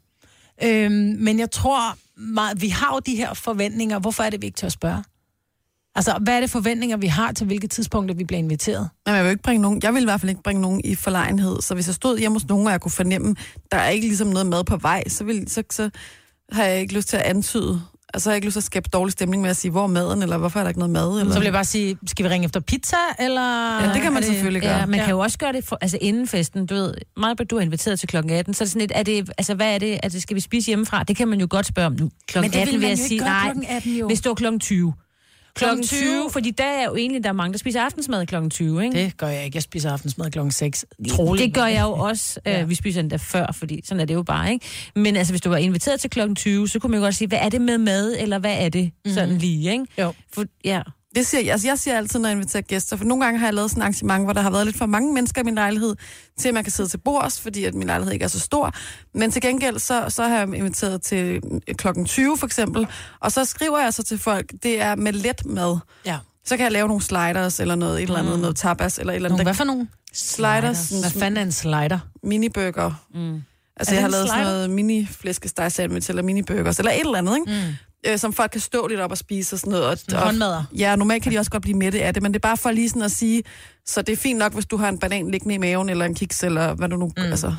Øhm, men jeg tror meget... Vi har jo de her forventninger. Hvorfor er det, vi ikke tør spørge? Altså, hvad er det forventninger, vi har til hvilke tidspunkter, vi bliver inviteret?
Jamen, jeg vil ikke bringe nogen. Jeg vil i hvert fald ikke bringe nogen i forlegenhed. Så hvis jeg stod hjemme hos nogen, og jeg kunne fornemme, der er ikke ligesom noget mad på vej, så, vil, så, så har jeg ikke lyst til at antyde, Altså, jeg har ikke lyst til at skabe dårlig stemning med at sige, hvor er maden, eller hvorfor er der ikke noget mad? Eller...
Så vil jeg bare sige, skal vi ringe efter pizza, eller...
Ja, det kan man
er
selvfølgelig gøre.
Ja, man
Ja.
kan jo også gøre det for, altså inden festen. Du ved, Majbert, du er inviteret til klokken 18, så er det sådan lidt, er det, altså, hvad er det, altså, skal vi spise hjemmefra? Det kan man jo godt spørge om nu. Klokken
det vil
18
man
vil jeg
jo ikke
sige,
gøre
nej,
klokken 18 jo.
hvis det var klokken 20. Klokken
Klokken
20, fordi der er jo egentlig, der er mange, der spiser aftensmad klokken 20, ikke?
Det gør jeg ikke. Jeg spiser aftensmad klokken 6.
Troligt.
Troligt.
Det gør jeg jo
(laughs)
også. ja. Vi spiser endda før, fordi sådan er det jo bare, ikke? Men altså, hvis du var inviteret til klokken 20, så kunne man jo godt sige, hvad er det med mad, eller hvad er det
Mhm.
sådan lige, ikke?
Jo.
For, ja.
Det siger, jeg- altså jeg siger altid, når jeg inviterer gæster, for nogle gange har jeg lavet sådan et arrangement, hvor der har været lidt for mange mennesker i min lejlighed, til at man kan sidde til bords, fordi at min lejlighed ikke er så stor. Men til gengæld, så, så har jeg inviteret til øh, klokken 20 for eksempel, og så skriver jeg så til folk, det er med let mad.
Ja. Mm.
Så kan jeg lave nogle sliders eller noget, et eller andet, noget tapas eller et eller andet.
Nogle, hvad for nogen?
Sliders.
Hvad
sliders.
fanden er en slider?
Miniburger. Mm. Altså, jeg
Er det
har
en
lavet sådan
slider?
noget mini flæskesteg sandwich eller mini burgers eller et eller andet, ikke? Mm. Øh, som folk kan stå lidt op og spise og sådan noget. Og,
en
og-
håndmadder?
Ja, normalt kan de også godt blive mætte af det, men det er bare for lige sådan at sige, så det er fint nok, hvis du har en banan liggende i maven, eller en kiks, eller hvad du nu... Mm. Altså.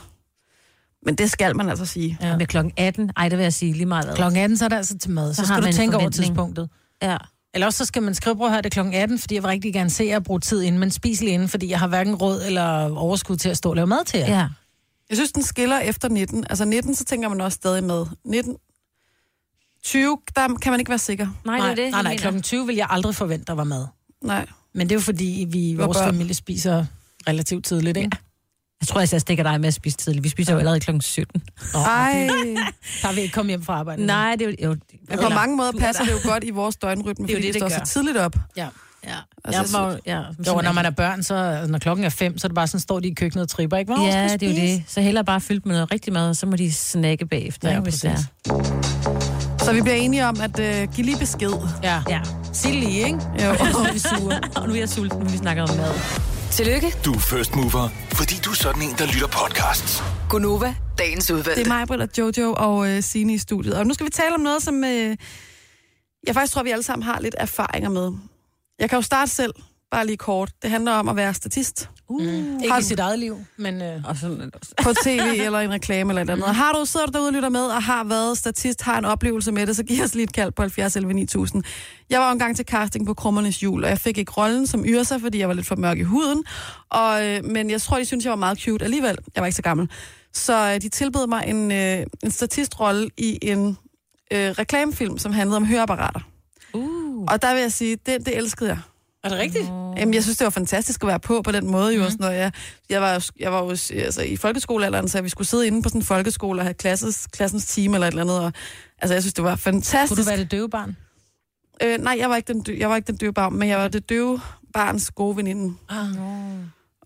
Men det skal man altså sige.
ja. Med klokken 18, ej, det vil jeg sige lige meget. hvad.
Klokken 18, så er det altså til mad. Så,
Så
så
har
skal du
man en
tænke over
forventning.
tidspunktet.
Ja.
Eller også så skal man skrive, prøv at høre, det er klokken 18, fordi jeg vil rigtig gerne se jer bruge tid inden, men spis lige inden, fordi jeg har hverken råd eller overskud til at stå og lave mad til jer.
ja.
Jeg synes, den skiller efter 19. Altså 19, så tænker man også stadig med. 19... 20, der kan man ikke være sikker.
Nej, det er
Nej,
det, jeg
nej, nej,
mener.
klokken 20 vil jeg aldrig forvente, der var mad.
Nej.
Men det er jo fordi, vi i
Hvor
vores
børn?
familie spiser relativt tidligt, ikke?
Jeg tror, jeg stikker dig med at spise tidligt. Vi spiser jo allerede klokken 17.
Ja.
Ej,
(laughs) Der vil ikke komme hjem fra arbejde.
Nej, det er jo... jo
men på mange måder passer det jo godt i vores døgnrytme,
(laughs) Det er jo
fordi
det,
det,
det
det, står
gør.
så tidligt op.
Ja.
Ja.
Altså,
jeg var, jo- ja,
Jo,
sådan
og når
er
man er børn, så altså, når klokken er fem, så er det bare sådan, står de i køkkenet og tripper, ikke?
det.
Hvor
Ja,
skal
det er jo
spise?
det. Så hellere bare fyldt med noget rigtig mad, og så må de snakke bagefter,
Ja,
ikke, hvis det
præcis.
er.
Så vi bliver enige om, at øh, give lige besked.
Ja.
Ja.
Sig det lige, ikke? (laughs)
Jo.
(laughs) Og vi er sure. Og nu er jeg sulten, men vi snakker om
(laughs)
mad.
Tillykke,
Du er first mover, fordi du er sådan en, der lytter podcasts.
Gunova, dagens udvalgte.
Det er mig, Britt og Jojo og øh, Signe i studiet. Og nu skal vi tale om noget, som øh, jeg faktisk tror, vi alle sammen har lidt erfaringer med. Jeg kan jo starte selv, bare lige kort. Det handler om at være statist
Mm. Ikke i sit eget liv, men... Øh,
Og sådan også.
på tv eller en reklame eller et eller andet. Har du, sidder du derude og lytter med og har været statist, har en oplevelse med det, så giv os lige et kald på 70 11 9000. Jeg var jo engang til casting på Krummernes Jul, og jeg fik ikke rollen som Yrsa, fordi jeg var lidt for mørk i huden. Og, øh, men jeg tror, de syntes, jeg var meget cute alligevel. Jeg var ikke så gammel. Så øh, de tilbød mig en, øh, en statistrolle i en øh, reklamefilm, som handlede om høreapparater. Uh. Og der vil jeg sige, det, det elskede jeg.
er det rigtigt?
Jamen, jeg synes, det var fantastisk at være på på den måde. Jo, mm. sådan noget. Jeg, jeg var, jo- jeg var jo altså, i folkeskolealderen, så vi skulle sidde inde på sådan en folkeskole og have klasses, klassens time eller et eller andet. Og, altså, jeg synes, det var fantastisk.
Kunne du være det døve barn?
Øh, nej, jeg var ikke den, dø- jeg var ikke den døve barn, men jeg var det døve barns gode veninde. Ah.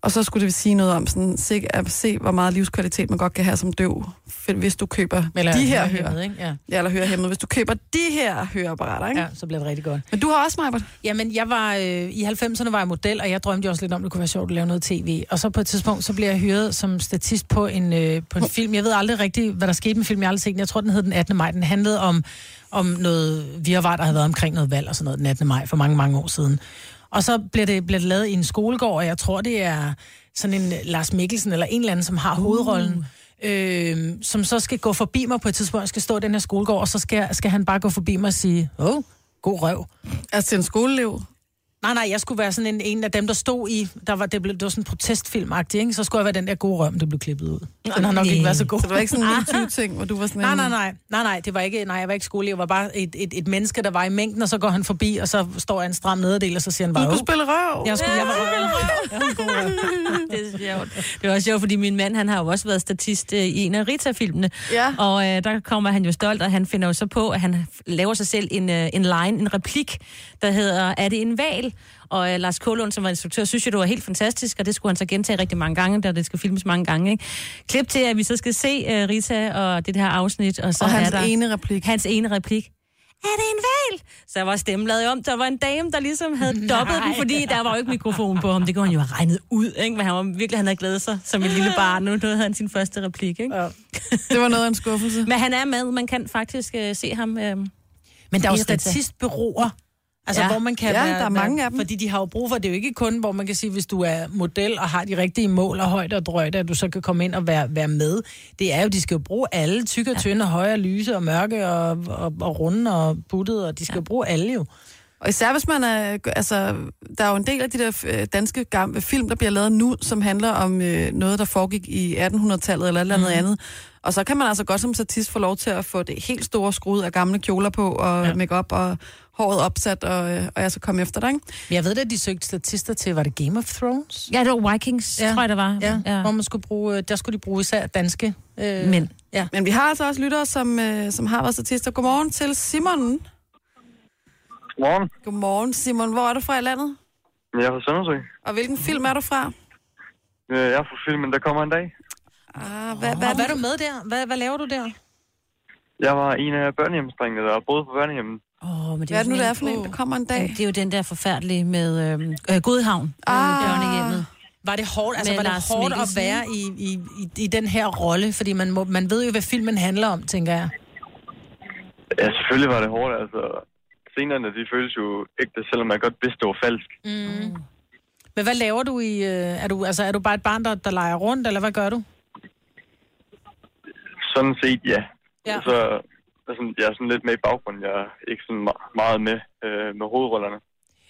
Og så skulle det sige noget om sådan, se, at se, hvor meget livskvalitet man godt kan have som døv, f- hvis du køber eller de her hører.
ikke? Ja.
Ja, eller hørehæmmede, hvis du køber de her høreapparater, ikke? Ja.
ja, så bliver det rigtig godt.
Men du har også, Majbert.
Jamen, jeg var, øh, i 90'erne var jeg model, og jeg drømte jo også lidt om, at det kunne være sjovt at lave noget tv. Og så på et tidspunkt, så blev jeg hyret som statist på en, øh, på en film. Jeg ved aldrig rigtigt, hvad der skete med filmen, jeg har aldrig set den. Jeg tror, den hed den 18. maj. Den handlede om, om noget virvar, der havde været omkring noget valg og sådan noget den 18. maj for mange, mange år siden. Og så bliver det, bliver det lavet i en skolegård, og jeg tror, det er sådan en Lars Mikkelsen eller en eller anden, som har
Uh.
hovedrollen. Øh, som så skal gå forbi mig på et tidspunkt, jeg skal stå i den her skolegård, og så skal, skal han bare gå forbi mig og sige, åh, oh, god røv.
Altså til en skoleelev.
Nej, nej, jeg skulle være sådan en, en af dem, der stod i... Der var, det, blev, det var sådan en protestfilm ikke? Så skulle jeg være den der gode røm, der blev klippet ud. Den har nok
Nej.
ikke været så god.
Så det var ikke sådan
(laughs)
en 20-ting, hvor du var sådan
Nej,
en-
nej, nej, nej, nej, det var ikke, nej, jeg var ikke skoleelev, jeg var bare et, et, et menneske, der var i mængden, og så går han forbi, og så står jeg en stram nederdel, og så siger han bare,
Du kunne
"Åh,
spille røv.
jeg skulle, jeg
(laughs)
var Jeg var en god røv.
Det er sjovt. Det er også sjovt, fordi min mand, han har jo også været statist øh, i en af Rita-filmene.
Ja.
Og øh, der kommer han jo stolt, og han finder jo så på, at han f- laver sig selv en, øh, en line, en replik, der hedder, er det en val? Og øh, Lars Kålund, som var instruktør, synes jo, det var helt fantastisk, og det skulle han så gentage rigtig mange gange, da det skal filmes mange gange. Ikke? Klip til, at vi så skal se øh, Rita og det her afsnit, og så
Og
er
hans
der...
ene replik.
Hans ene replik. Er det en val? Så var stemmen lavet om. Der var en dame, der ligesom havde
(laughs)
dobbet den, fordi der var jo ikke mikrofon på ham. Det kunne han jo have regnet ud, ikke? Men han var virkelig, han havde glædet sig som et lille (laughs) barn. Nu nu havde han sin første replik, ikke?
(laughs) Det var noget af en skuffelse.
Men han er med. Man kan faktisk øh, se ham. Øh.
Men der er jo
I Rita.
statistbyråer. Altså,
Ja.
ja. hvor man kan
Ja,
være,
der er mange
være,
af dem.
Fordi de har jo brug for, det er jo ikke kun, hvor man kan sige, hvis du er model og har de rigtige mål og højde og drøjde, at du så kan komme ind og være, være med. Det er jo, de skal jo bruge alle, tykke og tynde, ja. høje og lyse og mørke og, og, og runde og buttede, og de skal ja. bruge alle jo.
Og især hvis man er... Altså, der er jo en del af de der øh, danske gamle film, der bliver lavet nu, som handler om øh, noget, der foregik i 1800-tallet eller et eller
Mhm.
andet mm. andet. Og så kan man altså godt som statist få lov til at få det helt store skrud af gamle kjoler på, og ja. makeup og håret opsat, og, øh, og jeg så komme efter dig, ikke?
Men jeg ved da, at de søgte statister til, var det Game of Thrones?
Ja, det var Vikings, ja. tror jeg, det var.
Ja, ja. Hvor man skulle bruge, øh, der skulle de bruge især danske øh,
Mænd.
Ja.
Men vi har altså også lyttere, som, øh, som har været statister. Godmorgen til Simon.
Godmorgen.
Godmorgen, Simon. Hvor er du fra i landet?
Jeg er fra Søndersø.
Og hvilken film er du fra?
Øh, Jeg er fra filmen Der kommer en dag.
Ah, hvad,
Hvad, og hvad er du med der? Hvad, hvad laver du der?
Jeg var en af børnehjemsdrengene, der boede på børnehjemmet.
Åh, men det
Hvad er det nu,
sådan
det er for en, der kommer en dag?
Jamen, det er jo den der forfærdelige med øhm, øh, Godhavn. Ah. Børnehjemmet.
Var det hårdt, altså,
Med
var det
Lars
hårdt at
Mikkelsen,
være i, i, i, i den her rolle? Fordi man, må, man ved jo, hvad filmen handler om, tænker jeg.
Ja, selvfølgelig var det hårdt, altså. Scenerne, de føles jo ægte, selvom man godt vidste, det var falsk.
Mm. Men hvad laver du i... øh, Er du, altså, er du bare et barn, der, der leger rundt, eller hvad gør du?
Sådan set, ja.
Ja.
Så altså, jeg er sådan lidt med i baggrunden. Jeg er ikke sådan me- meget med øh, med hovedrollerne.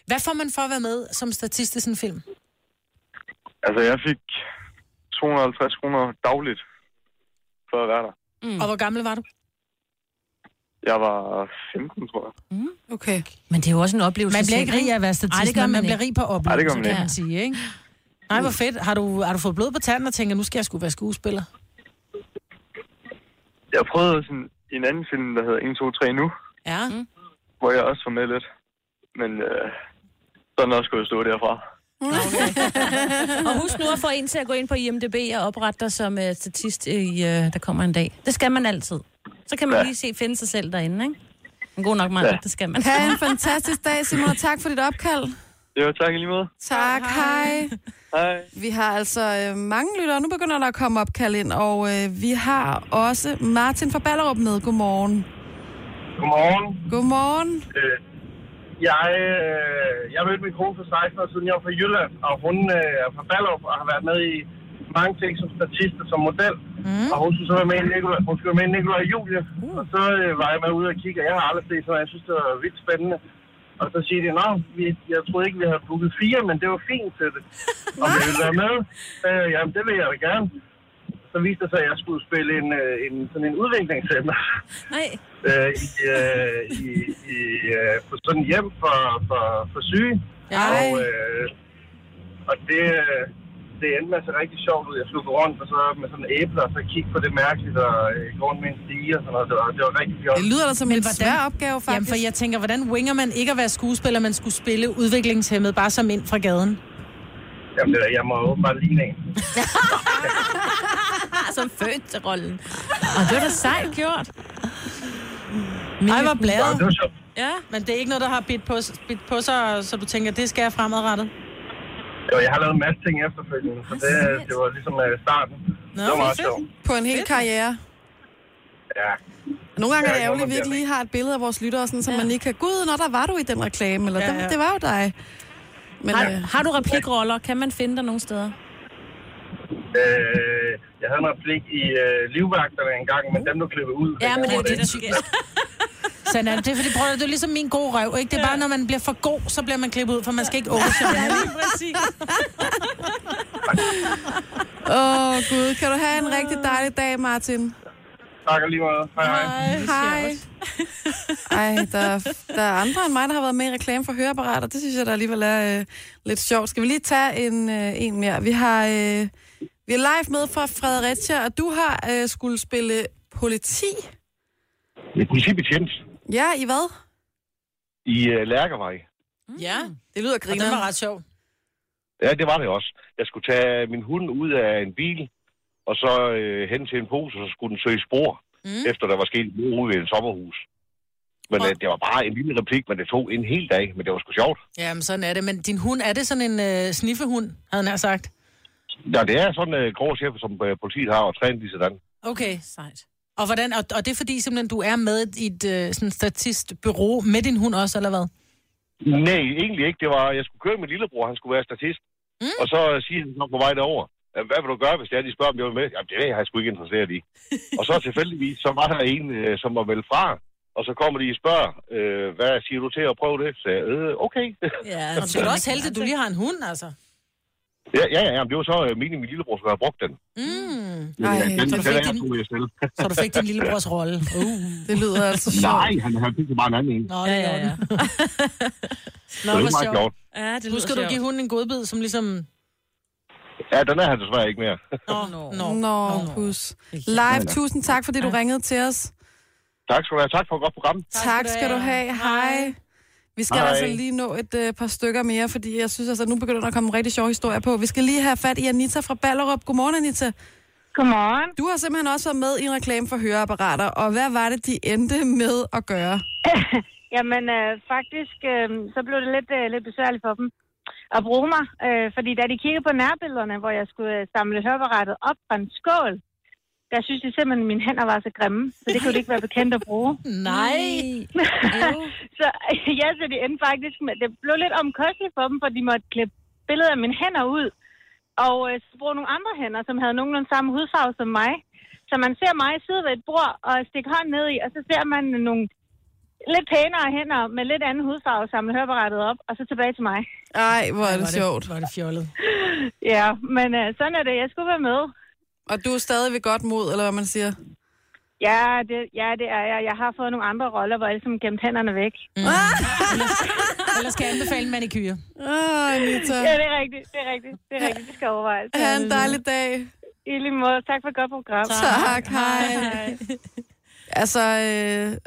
Hvad får man for at være med som statist i sådan en film?
Altså, jeg fik 250 kroner dagligt for at være der.
Mm. Og hvor gammel var du?
Jeg var 15, tror jeg.
Okay.
Mm. Men det er jo også en oplevelse.
Man bliver
selv,
ikke rig af at være statist,
Ej, det gør
men
man,
man
ikke.
bliver rig på
Ej, det gør
oplevelsen,
man
kan
ikke.
man sige, ikke? Nej, hvor fedt. Har du, har du fået blod på tanden og tænker, nu skal jeg sgu være skuespiller?
Jeg prøvede sådan en anden film, der hedder 1, 2, 3 nu,
Ja. Mm.
hvor jeg også var med lidt. Men øh, så er den også gået stå derfra.
(laughs) Og husk nu at få en til at gå ind på IMDB og oprette dig som øh, statist, i, øh, der kommer en dag. Det skal man altid. Så kan man
Ja.
lige se, finde sig selv derinde, ikke? En god nok mand, ja.
Ja.
det skal man.
Ha' en
(laughs)
fantastisk dag, Simon, og tak for dit opkald.
Jo, tak i lige måde.
Tak, hej.
Hej.
Vi har altså øh, mange lyttere. Nu begynder der at komme opkald ind, og øh, vi har også Martin fra Ballerup med. Godmorgen.
Godmorgen.
Godmorgen.
Øh, jeg, øh, jeg mødte min kone for 16 år siden. Jeg var fra Jylland, og hun øh, er fra Ballup og har været med i mange ting som statist og som model. Mm. Og hun skulle så være med i Nicolai, hun skulle være med i Nicolai og Julie. Mm. Og så øh, var jeg med ude og kigge, og jeg har aldrig set sådan, jeg synes, det var vildt spændende. Og så siger de, at jeg troede ikke, vi havde booket fire, men det var fint til det. Om jeg ville være med? Øh, jamen, det vil jeg da gerne. Så viste det sig, at jeg skulle spille en, øh, en, sådan en udviklingshemmer
Nej.
øh, i, øh, i, i, øh, på sådan et hjem for, for, for syge.
Ej.
Og, øh, og det, øh, det endte med at se rigtig sjovt ud. Jeg skulle gå rundt og så med sådan æbler og så kigge på det mærkeligt og øh, gå rundt med en stige og sådan noget. Det var, det var rigtig fjollet.
Det lyder da som en
hvordan-
svær opgave,
Jamen,
faktisk.
for jeg tænker, hvordan winger man ikke at være skuespiller, man skulle spille udviklingshemmet bare som ind fra gaden?
Jamen, det, jeg må åbenbart ligne en.
Ah, som født til rollen. Og det var da sejt gjort.
Ej, hvor
Så
blæret.
det var sjovt.
Ja.
Men det er ikke noget, der har bidt på, bidt på sig, så du tænker, det skal jeg fremadrettet?
Jo, jeg har lavet en masse ting efterfølgende, så det, det var ligesom øh, starten.
Nå,
det var meget
fedt.
sjovt.
På en hel karriere.
Ja.
Nogle gange er det
Ja,
ærgerligt,
hvor
at vi
man
ikke
bliver
lige har et billede af vores lyttere, sådan, så man lige kan... Gud, når der var du i den reklame, eller
Ja,
ja,
ja.
Det, det var jo dig. Men
Har,
øh,
har du replikroller? Kan man finde dig nogle steder?
Øh, jeg havde en replik i øh, livvagterne engang, men dem blev klippet ud.
Ja, men det er jo det, der sker.
Sådan er det. Det er, fordi, prøv, at- det er ligesom min gode røv, ikke? Det er bare, når man bliver for god, så bliver man klippet ud, for man skal ikke overshow. Ja, lige præcis.
Åh, oh, Gud. Kan du have en rigtig dejlig dag, Martin?
Tak og lige meget. Hej, hej.
Hej. Ej, der, er- der er andre end mig, der har været med i reklame for høreapparater. Det synes jeg, der alligevel er øh, lidt sjovt. Skal vi lige tage en, øh, en mere? Vi har øh, vi er live med fra Fredericia, og du har øh, skulle spille politi.
Det er politibetjent
Ja, i hvad?
i uh, Lærkevej.
Ja,
Det lyder
og den var
griner.
ret sjov.
Ja, det var det også. Jeg skulle tage min hund ud af en bil, og så øh, hen til en pose, og så skulle den søge spor,
Mm.
mm. efter der var sket en uro ved et sommerhus. Men øh, det var bare en lille replik, men det tog en hel dag, men det var sgu sjovt.
Jamen, sådan er det. Men din hund, er det sådan en øh, sniffehund, havde han sagt?
Ja, det er sådan en øh, grå chef, som øh, politiet har, og trænet lige sådan.
Okay.
Sejt.
Og, hvordan, og, og det er fordi, simpelthen, du er med i et øh, sådan statistbyrå med din hund også, eller hvad?
Nej, egentlig ikke. Det var, jeg skulle køre min lillebror, han skulle være statist. Mm. Og så siger han så på vej derover. Hvad vil du gøre, hvis det er, de spørger, om jeg vil med? Jamen, det er jeg sgu ikke interesseret
(laughs)
i. og så tilfældigvis, så var der en, øh, som var vel fra. Og så kommer de og spørger, øh, hvad siger du til at prøve det? Så jeg, øh, okay. (laughs)
Ja, og du skal da også heldig, at du lige har en hund, altså.
ja, ja, ja, men det var så øh, meningen, min lillebror skulle have brugt den.
Mm.
Nej,
Ej,
den,
så du
den,
fik
er jeg
din-
tog jeg selv.
Så du fik din
(laughs)
lillebrors rolle. Uh.
Det lyder altså
Nej, han, han fik jo bare en anden en.
Nå, det ja, ja, ja.
det er ikke meget sjovt.
Ja, det
Nu skal du give hunden en godbid, som ligesom...
Ja, den er han desværre ikke mere. (laughs)
Nå, nå,
Nå, Nå, pus. Live, tusind tak, fordi du ringede til os.
tak skal du have. Tak for et godt program.
Tak skal du have. Hej. Vi skal
Hej.
altså lige nå et øh, par stykker mere, fordi jeg synes altså, at nu begynder der at komme rigtig sjove historier på. Vi skal lige have fat i Anita fra Ballerup. Godmorgen, Anita.
Godmorgen.
Du har simpelthen også været med i en reklame for høreapparater, og hvad var det, de endte med at gøre?
Jamen, øh, faktisk, øh, så blev det lidt, øh, lidt besværligt for dem at bruge mig. Øh, fordi da de kiggede på nærbillederne, hvor jeg skulle øh, samle høreapparatet op fra en skål, der synes de simpelthen, at mine hænder var så grimme, så det kunne de ikke være bekendt at bruge. (laughs)
Nej.
så ja, så de endte faktisk med, det blev lidt omkosteligt for dem, for de måtte klippe billeder af mine hænder ud, og øh, så bruge nogle andre hænder, som havde nogenlunde samme hudfarve som mig. Så man ser mig sidde ved et bord og stikke hånden ned i, og så ser man nogle lidt pænere hænder med lidt anden hudfarve samle høreapparatet op, og så tilbage til mig. (laughs)
Ej, hvor er det sjovt.
Hvor er det fjollet.
Ja, men øh, sådan er det. Jeg skulle være med.
Og du er stadig ved godt mod, eller hvad man siger?
Ja, det, ja, det er jeg. Jeg har fået nogle andre roller, hvor jeg ligesom gemt hænderne væk. Mm.
(laughs) Ellers skal jeg anbefale en manikyr.
Åh, Ah, Anita.
Ja, det er rigtigt. Det er rigtigt. Det er rigtigt. Det skal overvejes.
Ha' en dejlig dag.
I lige måde. Tak for et godt program.
Tak, hej. Altså, øh,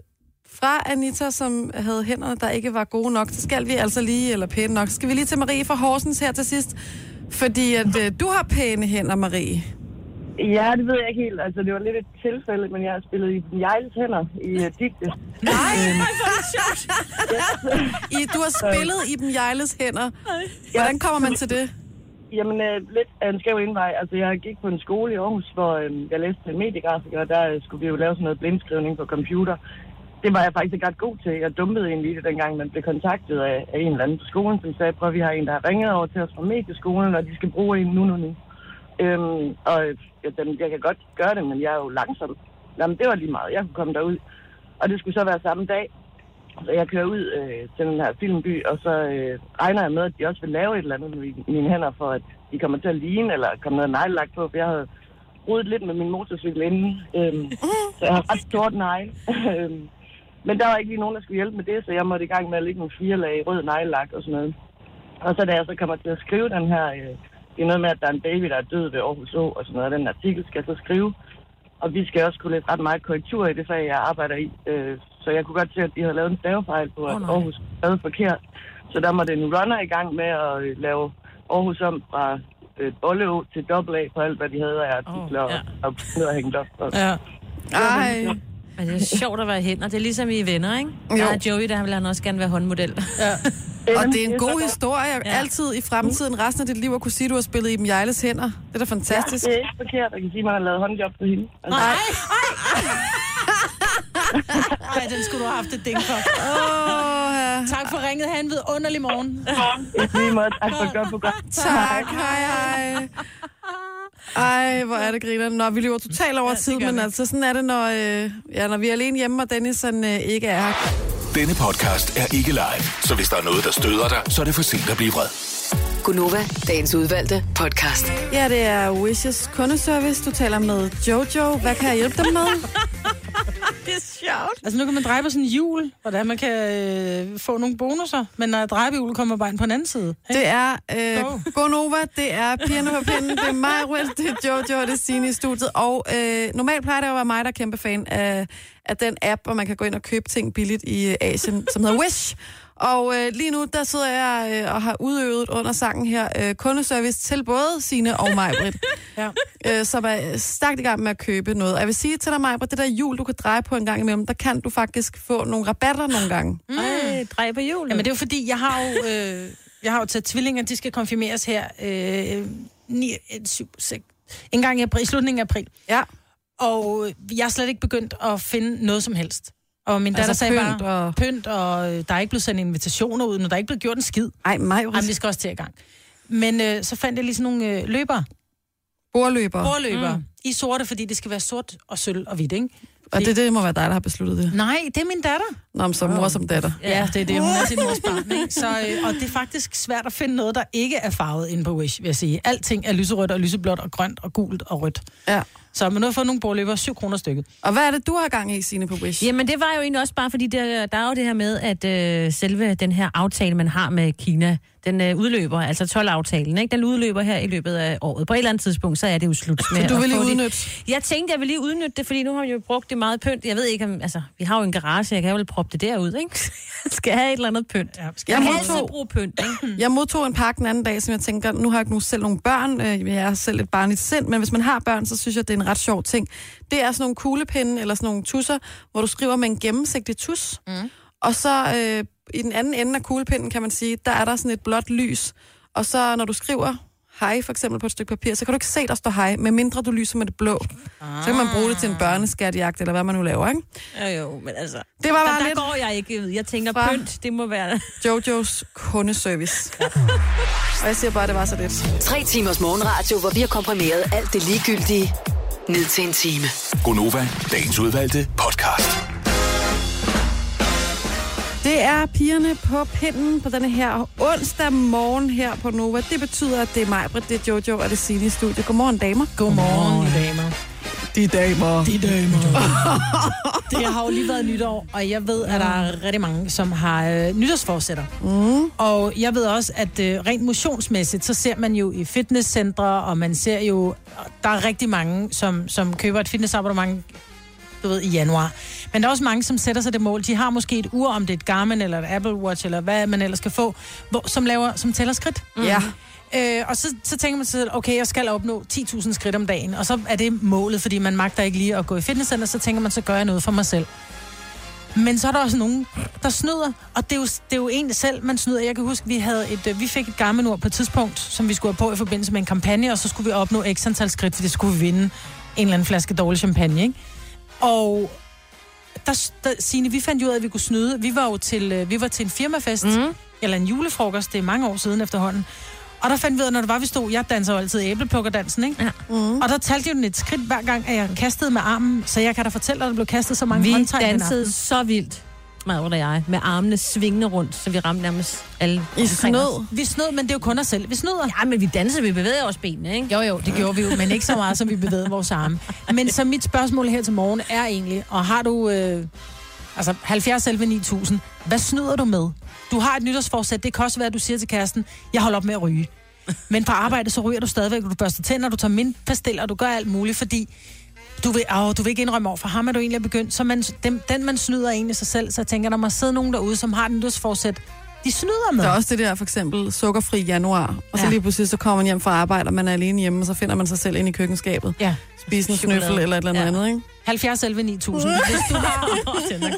fra Anita, som havde hænderne, der ikke var gode nok, så skal vi altså lige, eller pæne nok, så skal vi lige til Marie fra Horsens her til sidst. Fordi at øh, du har pæne hænder, Marie.
Ja, det ved jeg ikke helt. Altså, det var lidt et tilfælde, men jeg har spillet i den Jejles hænder i uh, digte.
Nej, hvor er det sjovt. I, du har spillet i dem Jejles hænder. Hvordan kommer man til det?
Jamen, øh, lidt af en skæv indvej. Altså, jeg gik på en skole i Aarhus, hvor øh, jeg læste til mediegrafiker, og der øh, skulle vi jo lave sådan noget blindskrivning på computer. Det var jeg faktisk ikke ret god til. Jeg dumpede egentlig i det, dengang man blev kontaktet af, af en eller anden på skolen, som sagde, prøv, vi har en, der har ringet over til os fra medieskolen, og de skal bruge en nu, nu, nu. Øhm, og jeg, jamen, jeg kan godt gøre det, men jeg er jo langsom. Jamen, det var lige meget. Jeg kunne komme derud. Og det skulle så være samme dag. Så jeg kører ud øh, til den her filmby, og så øh, regner jeg med, at de også vil lave et eller andet med mine- mine hænder, for at de kommer til at ligne, eller komme noget neglelagt på, for jeg havde rodet lidt med min motorcykel inden,
(laughs)
øhm, så jeg har ret stort negle. (laughs) Øhm, Men der var ikke lige nogen, der skulle hjælpe med det, så jeg måtte i gang med at lægge nogle fire lag rød neglelak og sådan noget. Og så da jeg så kommer til at skrive den her, øh, det er noget med, at der er en baby, der er død ved Aarhus Å, og sådan noget, den artikel skal jeg så skrive. Og vi skal også kunne læse ret meget korrektur i det fag, jeg arbejder i. Øh, så jeg kunne godt se, at de havde lavet en stavefejl på, at
Åh, nej.
Aarhus havde forkert. Så der måtte en runner i gang med at øh, lave Aarhus om fra øh, Bolleå til dobbelt A på alt, hvad de havde af artikler oh, ja. og, og, og hængt op. Og,
Ja.
Ej.
Men det er sjovt at være hænder. Det er ligesom i venner, ikke? Jo. Der er Joey, der vil han også gerne være håndmodel.
Ja.
Og det er en god historie. Altid i fremtiden, resten af dit liv, at kunne sige, at du har spillet i dem Jejles hænder. Det er da fantastisk.
Ja, det er ikke forkert. Jeg kan sige, at man har lavet håndjob på hende. Altså,
Nej.
(laughs) Ej, den skulle du have haft et ding for.
Oh, ja.
Tak for ringet. Ha' en vidunderlig morgen.
I lige måde, tak for et godt program.
Tak, hej, hej. Ej, hvor er det griner. Nå, vi løber totalt over ja, tid, men altså sådan er det, når, øh, ja, når vi er alene hjemme, og Dennis han, øh, ikke er her.
Denne podcast er ikke live, så hvis der er noget, der støder dig, så er det for sent at blive vred.
Gunova, dagens udvalgte podcast.
Ja, det er Wishes kundeservice. Du taler med Jojo. Hvad kan jeg hjælpe dig med?
det er sjovt. Altså, nu kan man dreje på sådan en hjul, hvordan man kan øh, få nogle bonusser. Men når jeg drejer på hjulet, kommer jeg bare ind på en anden side.
Det er øh, Gonova, det er pigerne på pinden, det er mig, Will, det er Jojo, og det er Signe i studiet. Og øh, normalt plejer det at være mig, der er kæmpe fan af, af den app, hvor man kan gå ind og købe ting billigt i øh, Asien, som hedder Wish. Og øh, lige nu, der sidder jeg øh, og har udøvet under sangen her øh, kundeservice til både Signe og mig, Britt.
ja.
øh, som er stærkt i gang med at købe noget. Og jeg vil sige til dig, Maja, det der hjul, du kan dreje på en gang imellem, der kan du faktisk få nogle rabatter nogle gange.
Mm. Ej,
drej på hjulet.
Jamen, det er jo fordi, jeg har jo, øh, jeg har jo taget tvillinger, de skal konfirmeres her øh, 9, 7, 6, en gang i, april, i slutningen af april.
Ja.
øh, Og jeg er slet ikke begyndt at finde noget som helst. Og min datter
Altså
altså, sagde
pynt
pynt bare, og... pynt, og øh, der er ikke blevet sendt invitationer ud, når der er ikke blevet gjort en skid.
Ej, mig.
Jamen, vi skal også til i gang. Men øh, så fandt jeg lige sådan nogle øh, løbere.
Bordløbere.
Bordløbere.
Mm.
Mm. I er sorte, fordi det skal være sort og sølv og hvidt, ikke?
Og det, det må være dig, der har besluttet det.
Nej, det er min datter.
Nå, men som mor som datter.
Ja, det er det. Hun er
(laughs)
sin mors barn, ikke? Så, øh, og det er faktisk svært at finde noget, der ikke er farvet inde på Wish, vil jeg sige. Alting er lyserødt og lyseblåt og grønt og gult og rødt.
Ja.
Så man nu har fået nogle bordløbere 7 kroner stykket.
Og hvad er det, du har gang i, Signe, på Wish?
(laughs) Jamen, det var jo egentlig også bare, fordi der, der er jo det her med, at øh, selve den her aftale, man har med Kina, den øh, udløber, altså 12-aftalen, ikke? Den udløber her i løbet af året. På et eller andet tidspunkt, så er det jo slut med
Så du
at
vil lige
få det.
udnytte?
Jeg tænkte, jeg vil lige udnytte det, fordi nu har vi jo brugt det meget pynt. Jeg ved ikke, om, altså, vi har jo en garage, jeg kan vel proppe det derud, ikke? (laughs) Jeg skal have et eller andet pynt. Ja,
Jeg
jeg kan
modtog-
altid bruge pynt, ikke?
(clears throat) Jeg modtog en pakke den anden dag, som jeg tænker, nu har jeg ikke nu selv nogle børn, øh, jeg er selv et barn i sind, men hvis man har børn, så synes jeg, det er en ret sjov ting. Det er sådan nogle kuglepinde eller sådan nogle tusser, hvor du skriver med en gennemsigtig tus, mm. og så øh, i den anden ende af kuglepinden, kan man sige, der er der sådan et blåt lys, og så når du skriver hej for eksempel på et stykke papir, så kan du ikke se, der står hej, medmindre du lyser med det blå. Ah. Så kan man bruge det til en børneskatjagt, eller hvad man nu laver, ikke?
Jo, jo, men altså...
Det var
der,
bare
der
lidt-
går jeg ikke ud. Jeg tænker,
Fra-
pynt, det må være... (laughs)
Jojos kundeservice. og jeg siger bare, at det var så lidt.
Tre timers morgenradio, hvor vi har komprimeret alt det ligegyldige ned til en time.
Gonova, dagens udvalgte podcast.
(laughs) Det er pigerne på pinden på denne her onsdag morgen her på Nova. Det betyder, at det er mig, Britt, det er Jojo og det er Signe i studiet. Godmorgen, damer.
Godmorgen, de damer.
De damer.
De damer. det har jo lige været nytår, og jeg ved, at der er rigtig mange, som har øh, nytårsforsætter. Mm. Og jeg ved også, at øh, rent motionsmæssigt, så ser man jo i fitnesscentre, og man ser jo, der er rigtig mange, som, som køber et fitnessabonnement du ved, i januar. Men der er også mange, som sætter sig det mål. De har måske et ur, om det er et Garmin eller et Apple Watch, eller hvad man ellers kan få, hvor, som, laver, som tæller skridt.
Ja.
Øh, og så, så tænker man sig selv, okay, jeg skal opnå 10.000 skridt om dagen. Og så er det målet, fordi man magter ikke lige at gå i fitnesscenter, så tænker man, så gør jeg noget for mig selv. Men så er der også nogen, der snyder, og det er jo, det er jo en selv, man snyder. Jeg kan huske, vi, havde et, øh, vi fik et gammelt ord på et tidspunkt, som vi skulle have på i forbindelse med en kampagne, og så skulle vi opnå x antal skridt, for det skulle vi vinde en eller anden flaske dårlig champagne, ikke? Og der, der, Signe, vi fandt jo ud af, at vi kunne snyde. Vi var jo til, øh, vi var til en firmafest,
Mhm.
mm. eller en julefrokost, det er mange år siden efterhånden. Og der fandt vi ud af, når det var, vi stod, jeg danser jo altid æbleplukkerdansen, ikke? Ja. Mm. Og der talte jo den et skridt hver gang, at jeg kastede med armen, så jeg kan da fortælle dig, at der blev kastet så mange
vi
håndtegn den
dansede
aften.
så vildt, Maud og jeg, med armene svingende rundt, så vi ramte nærmest alle
I
omkring
(laughs)
snød?
os.
Vi snød, men det er jo kun os selv. Vi snyder.
Ja, men vi dansede, vi bevægede os benene, ikke?
Jo, jo, det gjorde vi jo, men ikke så meget, som vi bevægede vores arme. Men så mit spørgsmål her til morgen er egentlig, og har du øh, altså 70 11 9000, hvad snyder du med? Du har et nytårsforsæt, det kan også være, at du siger til kæresten, jeg holder op med at ryge. Men på arbejde, så ryger du stadigvæk, og du børster tænder, du tager mintpastiller, og du gør alt muligt, fordi du vil, åh, du vil ikke indrømme over for ham, at du egentlig er begyndt. Så man, dem, den, man snyder egentlig sig selv, så jeg tænker, der må sidde nogen derude, som har et nytårsforsæt, de snyder med.
Der er også det der, for eksempel, sukkerfri januar. Og så
Ja.
lige pludselig, så kommer man hjem fra arbejde, og man er alene hjemme, og så finder man sig selv ind i køkkenskabet.
Ja.
Spise en
Chokolade.
snøffel eller et eller andet,
Ja.
ja. andet ikke?
70
(laughs)
11 9000. Hvis du har,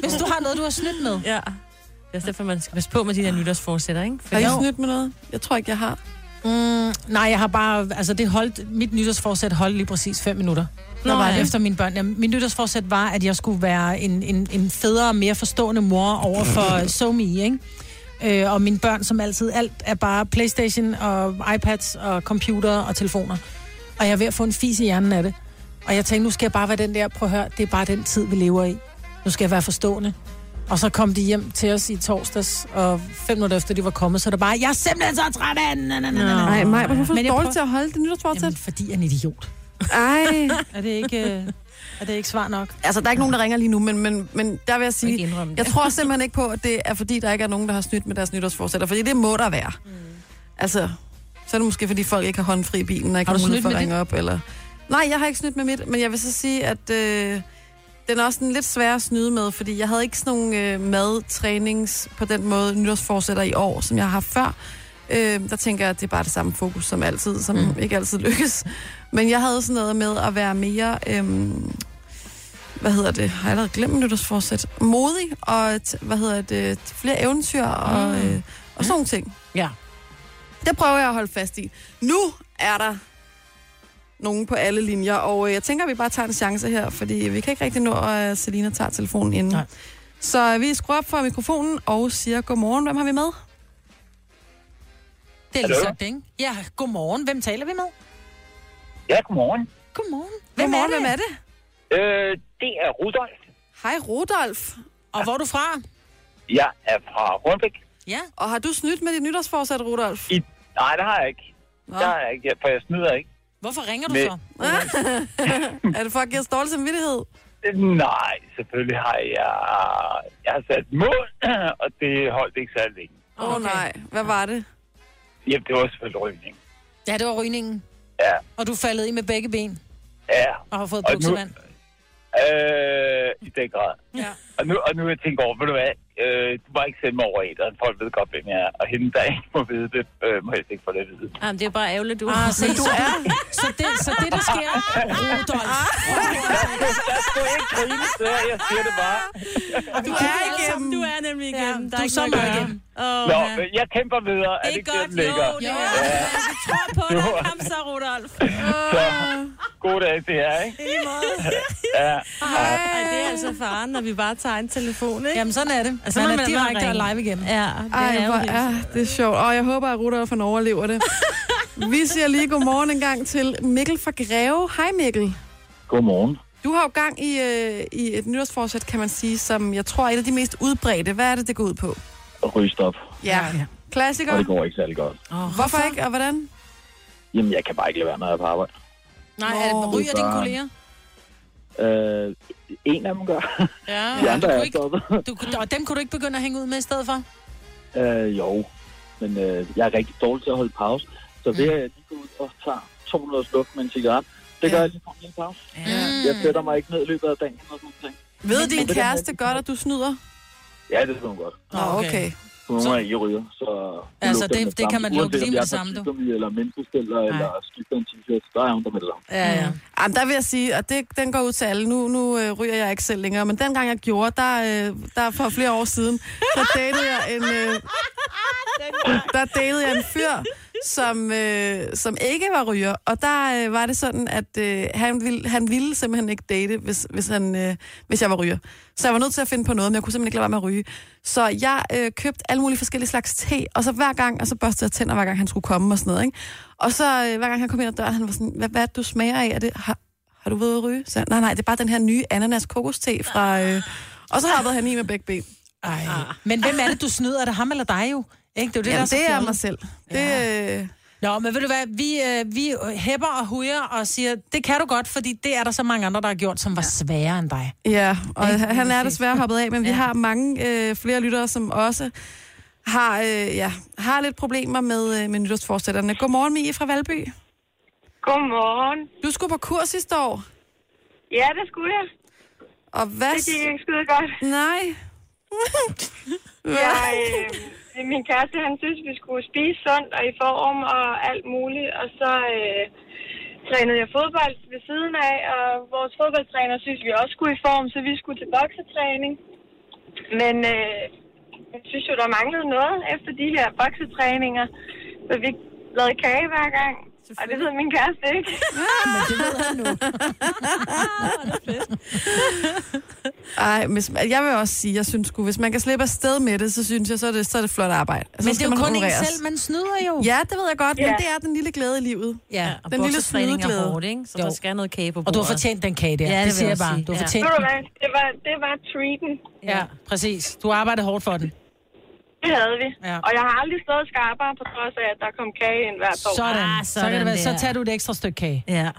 hvis du har noget, du har snydt med.
Ja. Det er også derfor, man skal passe på med de der nytårsforsætter, ikke?
Har I snydt med noget? Jeg tror ikke, jeg har.
Mm, nej, jeg har bare... Altså, det holdt, mit nytårsforsæt holdt lige præcis 5 minutter.
Nå,
Nå, var
ja.
det efter mine børn. Ja, mit nytårsforsæt var, at jeg skulle være en, en, en federe, mere forstående mor over
(clears throat)
for SoMe, ikke? Øh, og mine børn, som altid, alt er bare Playstation og iPads og computer og telefoner. Og jeg er ved at få en fis i hjernen af det. Og jeg tænkte, nu skal jeg bare være den der, prøv at høre, det er bare den tid, vi lever i. Nu skal jeg være forstående. Og så kom de hjem til os i torsdags, og fem minutter efter de var kommet, så er det bare, jeg er simpelthen så træt af den.
Nej, Maja, hvorfor er
Men
du
jeg
dårlig
prøver-
til at holde det nytårsfortsæt? Jamen,
fordi jeg er en idiot.
Ej.
er det ikke, øh, er det ikke svar nok?
Altså, der er ikke nogen, der ringer lige nu, men, men, men der vil jeg sige,
ikke indrømme det.
jeg tror simpelthen ikke på, at det er fordi, der ikke er nogen, der har snydt med deres nytårsforsætter, fordi det må der være. Mm. Altså, så er det måske, fordi folk ikke har håndfri i bilen, og ikke
Har
har,
du
mulighed
snydt
for at
med
ringe op, eller... Nej, jeg har ikke snydt med mit, men jeg vil så sige, at øh, den er også sådan lidt svær at snyde med, fordi jeg havde ikke sådan nogle øh, madtrænings på den måde nytårsforsætter i år, som jeg har haft før. Øh, der tænker jeg, at det er bare det samme fokus som altid, som mm. ikke altid lykkes. Men jeg havde sådan noget med at være mere... Øh, hvad hedder det, har jeg allerede glemt nytårsforsæt, modig og, t- hvad hedder det, flere eventyr og, mm. øh, og sådan nogle ting.
Ja.
Det prøver jeg at holde fast i. Nu er der nogen på alle linjer, og øh, jeg tænker, at vi bare tager en chance her, fordi vi kan ikke rigtig nå, at Selina tager øh, telefonen inden. Nej. Så vi skruer op for mikrofonen og siger godmorgen. Hvem har vi med?
Det er
Hallo?
Liselotte, ikke? Ja, godmorgen. Hvem taler vi med?
Ja, godmorgen.
Godmorgen.
Hvem godmorgen, er det? Hvem er det?
Øh, det er Rudolf.
Hej, Rudolf.
Og hvor er du fra?
Jeg er fra Rundbæk.
Ja.
Og har du snydt med dit nytårsforsæt, Rudolf?
I... Nej, det har jeg ikke.
Nå.
Det har jeg ikke, for jeg snyder ikke.
Hvorfor ringer
du Men- så?
(laughs) er det for at give os dårlig samvittighed?
Nej, selvfølgelig har jeg... Jeg har sat mål, (clears throat) og det holdt ikke særlig længe.
Åh oh, nej, hvad var det?
Jamen, det var selvfølgelig rygning.
Ja, det var rygningen.
Ja.
Og du faldet i med begge ben
Ja.
og har fået
Og nu-
buksevand.
Øh, I den grad.
Ja.
Og nu, og nu jeg tænker over, ved du hvad, øh, du må ikke sende mig over æderen. Folk ved godt, hvem jeg er. Og hende, der ikke må vide det, øh, må helst ikke få det at vide.
Jamen, det er bare ærgerligt, du
Ah, se,
Men du
så-
er...
Så det, så det der sker, Rudolf.
Jeg skulle ikke grine, så jeg (laughs) siger det bare.
(laughs) Du er igennem. Du er nemlig igennem. Ja,
du er så meget igennem.
Oh,
Nå, men jeg kæmper videre.
Det er
ikke
godt,
den ligger?
jo, det er godt. Vi tror på
Jo.
dig. Kom så, Rudolf.
Så, god dag til jer,
(laughs)
ikke?
I lige måde.
Ja.
Ej, det er altså faren, når vi bare tager en telefon, ikke?
Jamen, sådan er det.
Altså,
Man
man,
er
er direkte og
ringe.
live igen.
Ja,
Ej, hvor er det sjovt. Og jeg håber, at Rudolf han overlever
(laughs)
det. Vi siger lige godmorgen en gang til Mikkel fra Greve. Hej Mikkel.
Godmorgen.
Du har jo gang i, øh, i et nytårsforsæt, kan man sige, som jeg tror er et af de mest udbredte. Hvad er det, det går ud på?
Ryst op,
Ja. ja. Klassiker.
og det går ikke særlig godt.
Oh, Hvorfor ikke, og hvordan?
Jamen, jeg kan bare ikke lade være, når jeg er på arbejde.
Nej, er det, ryger dine kolleger?
Øh, en af dem gør.
Ja.
(laughs) De andre
du
er
kunne ikke,
stoppet.
du, kunne- og dem kunne du ikke begynde at hænge ud med i stedet for?
(laughs) Øh, jo, men øh, jeg er rigtig dårlig til at holde pause. Så ved at jeg lige går ud og tager 200 sluk med en cigaret, det gør jeg lige på en lille pause. Mm. Jeg sætter mig ikke ned i løbet af dagen. Eller sådan noget.
Ved din kæreste godt, at du snyder?
Ja, det ved hun godt.
Nå, okay.
Hun så... er ikke ryger, så... hun
Altså,
lugter
det-
med
det kan man
samme.
lugte
Uanset
lige
om
med
jeg
det
er
samme, du.
parfisemi Eller menneskestiller, eller skifter en t-shirt, der er hun der med det samme.
Ja, ja.
Jamen, der vil jeg sige, og det, den går ud til alle. Nu, nu øh, ryger jeg ikke selv længere, men dengang jeg gjorde, der, øh, der for flere år siden, der datede jeg en, øh, der datede jeg en fyr, som, øh, som ikke var ryger. Og der øh, var det sådan, at øh, han, ville, han ville simpelthen ikke date, hvis, hvis, han, øh, hvis jeg var ryger. Så jeg var nødt til at finde på noget, men jeg kunne simpelthen ikke lade være med at ryge. Så jeg øh, købte alle mulige forskellige slags te, og så hver gang, og så børstede jeg tænder, hver gang han skulle komme og sådan noget. Ikke? Og så øh, hver gang han kom ind ad døren, han var sådan, hvad, hvad er det, du smager af? Er det, har, har du været at ryge? Så, jeg, nej, nej, det er bare den her nye ananas kokoste fra... Øh, og så hoppede han i med begge ben.
Ej. Men hvem er det, du snyder? Er det ham eller dig jo? Ikke? Det er, jo det,
Ah. Jamen,
der så
det er
fjollet.
mig selv. Det, øh...
Nå, men ved du hvad, vi, øh, vi hæpper og hujer og siger, det kan du godt, fordi det er der så mange andre, der har gjort, som var sværere end dig.
Ja, og han er desværre hoppet af, men vi har mange øh, flere lyttere, som også har, øh, ja, har lidt problemer med, øh, med nytårsforsætterne. Godmorgen, Mie fra Valby.
Godmorgen.
Du skulle på kurs sidste år,
Ja, det skulle jeg.
og hvad...
Det gik ikke skide godt.
Nej.
Jeg, øh, min kæreste, han synes, vi skulle spise sundt og i form og alt muligt. Og så øh, trænede jeg fodbold ved siden af, og vores fodboldtræner synes, vi også skulle i form, så vi skulle til boksetræning. Men øh, jeg synes jo, der manglede noget efter de her boksetræninger, så vi lavede kage hver gang. Og det ved min kæreste ikke.
Men det ved han nu.
(laughs) Ej, hvis, jeg vil også sige, jeg synes sgu, hvis man kan slippe afsted med det, så synes jeg, så er det, så er det flot arbejde. Altså,
Men
så
det
skal
er jo
man
kun en
honoreres.
selv, man snyder jo.
Ja, det ved jeg godt, men
Ja.
det er den lille glæde i livet.
Ja, og
den lille
boksetræning er
snydeglæde.
hårdt, ikke? Så der skal noget kage på
Og du har
bordet.
fortjent den kage der.
Ja,
det,
det
det
vil
siger jeg
jeg
bare.
sige.
Du har
Ja.
fortjent
Ved du
den.
hvad? Det var, det var treaten.
Ja, præcis. Du har arbejdet hårdt for den.
Det havde vi.
Ja.
Og jeg har aldrig stået skarpere, på trods af, at der kom kage ind hvert år.
Sådan. Ah, sådan så, kan det være. så
der.
tager du et ekstra stykke kage.
Ja.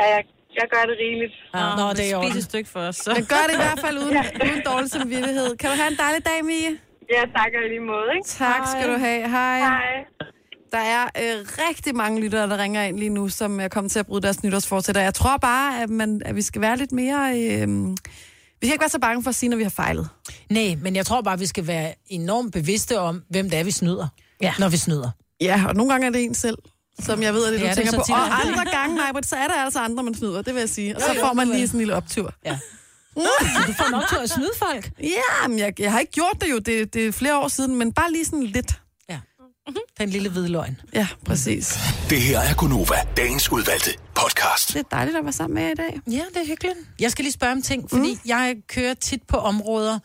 Ja, jeg, jeg gør det rigeligt.
Ah, Nå, det er i orden.
et stykke for os. Så.
Men gør det i hvert fald uden, uden dårlig samvittighed. Kan du have en dejlig dag, Mie?
Ja, tak og i lige måde, ikke?
Tak skal du have. Hej.
Hej.
Der er øh, rigtig mange lyttere, der ringer ind lige nu, som er kommet til at bryde deres nytårsforsæt. Og jeg tror bare, at, man, at vi skal være lidt mere... Øh, vi skal ikke være så bange for at sige, når vi har fejlet.
Nej, men jeg tror bare, vi skal være enormt bevidste om, hvem det er, vi snyder. Ja. Når vi snyder.
Ja, og nogle gange er det en selv, som jeg ved, at det,
Ja,
du
det er
tænker
så
på.
tit, at-
Og andre gange, Majbrit, så er der altså andre, man snyder, det vil jeg sige. Og
Jo,
så
jo,
får man
det er
lige
det.
sådan en lille optur.
Ja. du får en optur at snyde folk.
Ja, men jeg, jeg har ikke gjort det jo, det, det er flere år siden, men bare lige sådan lidt.
Ja. Den lille hvide løgn.
Ja, præcis.
Det her er Gunova, dagens udvalgte podcast.
Det er dejligt at være sammen med jer i dag.
Ja, det er hyggeligt. Jeg skal lige spørge om ting, fordi mm. jeg kører tit på områder,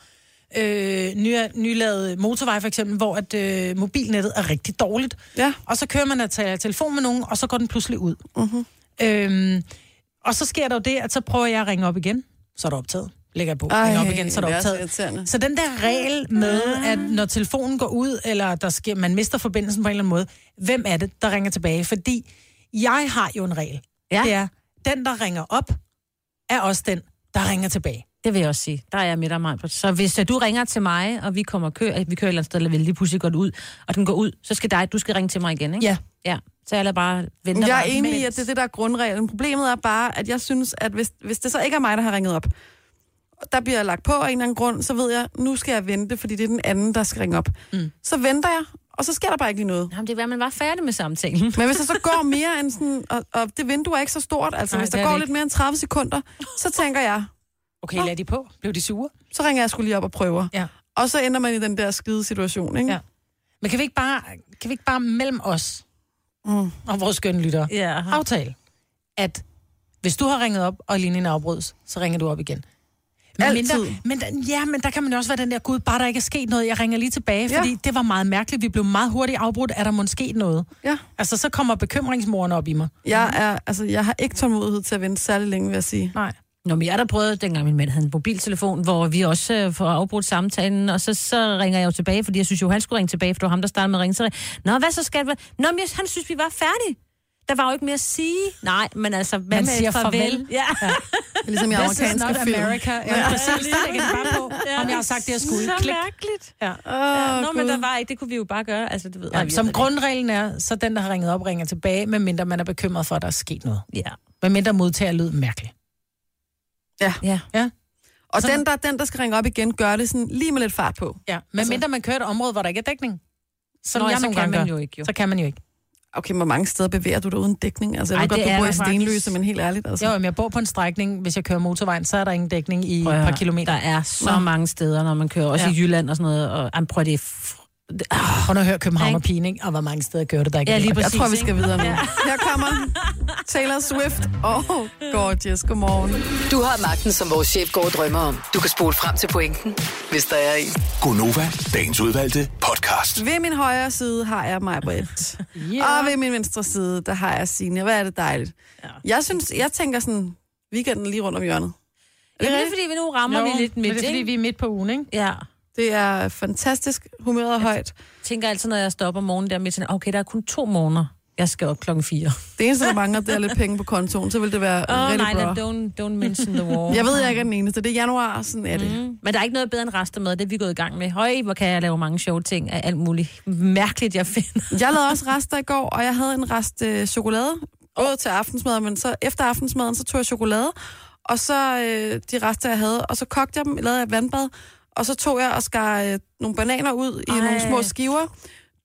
øh, ny, nylavet motorvej for eksempel, hvor at, øh, mobilnettet er rigtig dårligt.
Ja.
Og så kører man og tager telefon med nogen, og så går den pludselig ud.
Mm-hmm.
Øhm, og så sker der jo det, at så prøver jeg at ringe op igen. Så er det optaget. Lægger jeg på.
Ej,
ringer op igen, så er det
det er så
optaget.
irriterende.
så den der regel med, at når telefonen går ud, eller der sker, man mister forbindelsen på en eller anden måde, hvem er det, der ringer tilbage? Fordi jeg har jo en regel.
Ja.
Det er, den, der ringer op, er også den, der ringer tilbage.
Det vil jeg også sige. Der er jeg midt af mig. Så hvis øh, du ringer til mig, og vi kommer og kører, vi kører et eller andet sted, eller vi lige pludselig går det ud, og den går ud, så skal dig, du skal ringe til mig igen, ikke?
Ja.
Ja, så jeg lader bare vente.
Jeg er
bare.
enig i, at det er det, der er grundreglen. Problemet er bare, at jeg synes, at hvis, hvis det så ikke er mig, der har ringet op, og der bliver jeg lagt på af en eller anden grund, så ved jeg, nu skal jeg vente, fordi det er den anden, der skal ringe op. Mm. Så venter jeg, og så sker der bare ikke lige noget.
Jamen, det er, at man var færdig med samtalen.
(laughs) Men hvis der så går mere end sådan, og, og det vindue er ikke så stort, altså
Nej,
Nej, hvis
det
der
er
går
det
lidt mere end 30 sekunder, så tænker jeg,
Okay, lad de på. Blev de sure?
så ringer jeg skulle lige op og prøver.
Ja.
Og så ender man i den der skide situation, ikke?
Ja. Men kan vi ikke bare, kan vi ikke bare mellem os mm. og vores skønne lyttere
ja.
aftale, at hvis du har ringet op, og linjen afbrydes, så ringer du op igen. Men
Altid.
mindre- men, der- ja, men der kan man jo også være den der, gud, bare der ikke er sket noget, jeg ringer lige tilbage,
Ja.
fordi det var meget mærkeligt, vi blev meget hurtigt afbrudt, er der måske sket noget?
Ja.
Altså, så kommer bekymringsmoren op i mig.
Jeg, er, altså, jeg har ikke tålmodighed til at vente særlig længe, vil jeg sige.
Nej.
Nå, men jeg har da prøvet, dengang min mand havde en mobiltelefon, hvor vi også øh, får afbrudt samtalen, og så, så ringer jeg jo tilbage, fordi jeg synes jo, han skulle ringe tilbage, for det var ham, der startede med at ringe. Så ring- Nå, hvad så skal det Nå, men jeg, han synes, vi var færdige. Der var jo ikke mere at sige. Nej, men altså, hvad
Man
med et
siger farvel.
Ja. (laughs)
Ja.
Det er ligesom i
This is
amerikanske
not
film.
America. Ja,
Ja.
ja. præcis. Der lægger de bare på,
(laughs) Ja.
om jeg har sagt det, jeg skulle.
Så
Klik.
mærkeligt.
Ja.
Ja,
Åh,
Nå, men
Gud.
der var ikke, det kunne vi jo bare gøre. Altså, det ved
Ja,
jeg,
som grundreglen er, så den, der har ringet op, ringer tilbage, medmindre man er bekymret for, at der er sket noget.
Ja.
Medmindre modtager lyd mærkeligt.
Ja.
ja.
Ja.
Og
Sådan.
den der, den, der skal ringe op igen, gør det sådan lige med lidt fart på. Altså-
Ja, medmindre man kører et område, hvor der ikke er dækning. Som
Nå,
Nå,
ja,
jeg
så
nogle
kan
gange
man
gør.
jo ikke, jo.
Så kan man jo ikke.
Okay, hvor mange steder bevæger du dig uden dækning? Altså, jeg
Ej,
ved godt,
det
du
er
bor i
der faktisk.
Stenløse, men helt ærligt, altså.
Jo, men jeg bor på en strækning. Hvis jeg kører motorvejen, så er der ingen dækning i
Prøv at
et par
høre,
kilometer.
Der er så mange steder, når man kører, også
Ja.
i Jylland og sådan noget. Og, jamen, prøv at det er fr- det- ah,
Prøv nu at høre København og Pine, ikke? Og hvor mange steder kører det, der ikke
Ja,
er
lige
dækning.
Jeg
præcis,
tror, vi
ikke?
skal
(laughs)
videre nu. Her kommer Taylor Swift. Oh, gorgeous. Godmorgen.
Du har magten, som vores chef går og drømmer om. Du kan spole frem til pointen, hvis der er en.
Gunova, dagens udvalgte podcast.
Ved min højre side har jeg mig, Britt. yeah. Og ved min venstre side, der har jeg Signe. Hvor er det dejligt. Ja. Jeg synes, jeg tænker sådan, weekenden er lige rundt om hjørnet. Er det
Jamen, det er
rigtigt?
fordi, vi nu rammer
Jo,
vi lidt
men
midt,
det er, fordi
ikke?
vi er midt på ugen, ikke?
Ja.
Det er fantastisk. Humøret er højt.
tænker altid, når jeg står op om morgenen der midt, sådan, okay, der er kun to måneder. Jeg skal op klokken fire.
Det eneste, der mangler, det er lidt penge på kontoen. Så vil det være
Åh,
oh,
oh, nej,
rigtig bra.
nej, don't, don't mention the war.
(laughs) Jeg ved, jeg ikke er den eneste. Det er januar, og sådan er det.
Mm. Men der er ikke noget bedre end rester med, det er vi gået i gang med. Høj, hvor kan jeg lave mange sjove ting af alt muligt mærkeligt, jeg finder. (laughs)
Jeg lavede også rester i går, og jeg havde en rest øh, chokolade. Både til aftensmad, men så efter aftensmaden, så tog jeg chokolade. Og så øh, de rester, jeg havde. Og så kogte jeg dem, lavede jeg et vandbad. Og så tog jeg og skar øh, nogle bananer ud i
Ej.
Ej. nogle små skiver.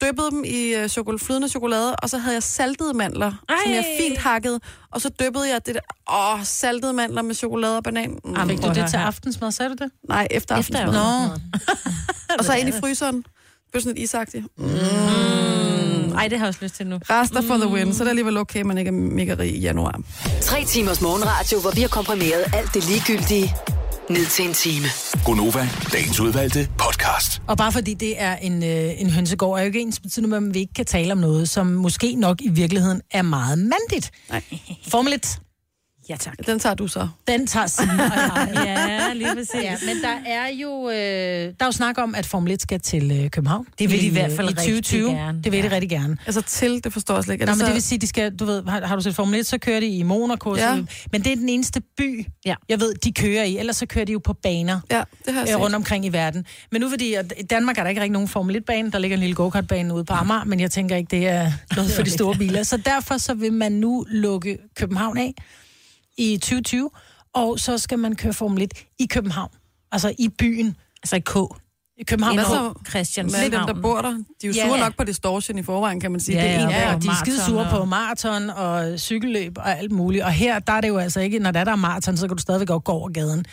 Dyppede dem i øh, chokol- flydende chokolade, og så havde jeg saltede mandler, Ej. som jeg
Ej.
fint hakkede. Og så dyppede jeg det der, åh, saltede mandler med chokolade og banan. Mm,
Jamen,
Fik
Prøv
du
at
det
høre
til
her.
aftensmad, sagde du det?
nej, efter
Efter
aftensmaden.
Nå.
Og så ind i fryseren. Det blev sådan lidt isagtigt.
Mm. Ej, det har jeg også lyst til nu.
Rester for the win, så det er alligevel okay, man ikke er mega rig i januar.
Tre timers morgenradio, hvor vi har komprimeret alt det ligegyldige ned til en time.
Gunova, dagens udvalgte podcast.
Og bare fordi det er en, øh, en hønsegård, er jo ikke ens betydende med, at vi ikke kan tale om noget, som måske nok i virkeligheden er meget mandigt.
Nej.
Formel 1,
Ja, tak.
Den tager du så.
den tager Signe og jeg.
(laughs) Ja, lige præcis.
Ja, men der er jo øh, der er jo snak om, at Formel 1 skal til øh, København.
Det vil de i hvert
øh,
fald
i
rigtig
2020.
gerne.
Det vil de
Ja.
rigtig gerne.
Altså til, det forstår jeg slet ikke. Er
Nå,
det
men
så-
det vil sige, de skal, du ved, har, har du set Formel 1, så kører de i Monaco.
Ja.
Ja. Men det er den eneste by,
Ja.
jeg ved, de kører i. Ellers så kører de jo på baner
Ja, det har jeg
øh,
set.
rundt omkring i verden. Men nu fordi, at i Danmark er der ikke rigtig nogen Formel 1-bane, der ligger en lille go-kart-bane ude på Amager, men jeg tænker ikke, det
(laughs)
er noget for de store biler. Så derfor så vil man nu lukke København af i 2020, og så skal man køre Formel 1 i København. Altså i byen.
Altså i K.
I København.
Hvad
Hvad
så?
K.
så? Christian
Hvad er dem, der bor der? De er jo
Ja.
sure nok på distortion i forvejen, kan man sige.
Ja,
det er en
ja.
Ja,
af
og de er
maraton
skide sure
og-
på maraton og cykelløb og alt muligt. Og her, der er det jo altså ikke, når der er der er maraton, så kan du stadigvæk godt gå over gaden.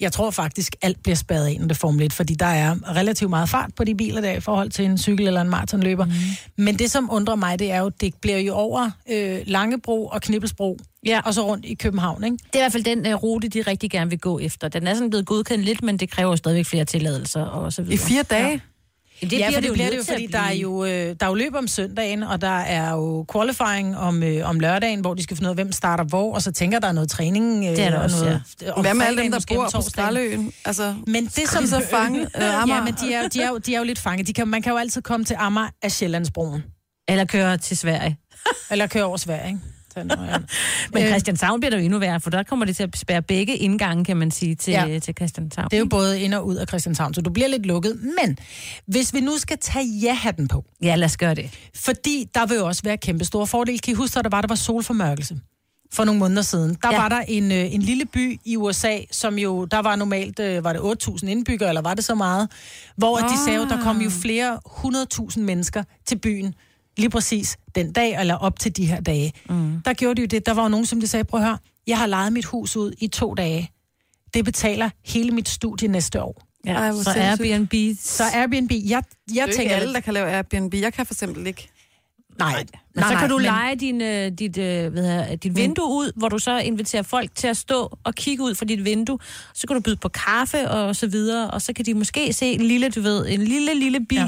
Jeg tror faktisk, alt bliver spadet ind, når det er Formel 1, fordi der er relativt meget fart på de biler der i forhold til en cykel eller en maratonløber. Mm.
Mhm.
Men det, som undrer mig, det er jo, det bliver jo over øh, Langebro og Knibbelsbro, ja. og så rundt i København, ikke?
Det er i hvert fald den uh, rute, de rigtig gerne vil gå efter. Den er sådan blevet godkendt lidt, men det kræver jo stadigvæk flere tilladelser og så videre.
I fire dage?
Ja. Jamen,
Det ja, for det
jo
bliver
nødt
det jo,
til at
fordi der er
blive.
jo, øh, der er jo løb om søndagen, og der er jo qualifying om, øh, om lørdagen, hvor de skal finde ud af, hvem starter hvor, og så tænker der er noget træning. Øh,
Det er der
og
også,
noget,
ja. Hvad med alle dem, der bor på Skraldeøen?
Altså, Men det
skal de så fange, øh, Amager?
(laughs) ja, men de er, jo- de, er jo, de er jo lidt fanget. De kan, man kan jo altid komme til Amager af Sjællandsbroen.
Eller køre til Sverige.
Eller køre over Sverige, ikke? Sådan noget, Øh. ja.
(laughs) Men Christianshavn bliver der jo endnu værre, for der kommer det til at spærre begge indgange, kan man sige, til,
Ja.
ja. til Christianshavn.
Det er jo både ind og ud af Christianshavn, så du bliver lidt lukket. Men hvis vi nu skal tage ja-hatten på.
Ja, lad os gøre det.
Fordi der vil jo også være kæmpe store fordele. Kan I huske, at der var, der var solformørkelse? For nogle måneder siden. Der ja. var der en, øh, en lille by i USA, som jo, der var normalt, øh, var det 8.000 indbyggere, eller var det så meget? Hvor ah. de sagde, jo, der kom jo flere 100.000 mennesker til byen, lige præcis den dag, eller op til de her dage. Mm. Der gjorde de jo det. Der var jo nogen, som de sagde, prøv at høre, jeg har lejet mit hus ud i to dage. Det betaler hele mit studie næste år.
Ja, Ej, hvor så sindssygt.
Airbnb...
Så Airbnb, jeg,
det er
jeg
jo ikke
tænker...
alle, der kan lave Airbnb. Jeg kan for eksempel ikke.
Nej. nej,
Men så kan du
men-
lege din, øh, dit, øh, hvad hedder, det, dit vindue ud, hvor du så inviterer folk til at stå og kigge ud fra dit vindue. Så kan du byde på kaffe og så videre, og så kan de måske se en lille, du ved, en lille, lille bi, ja.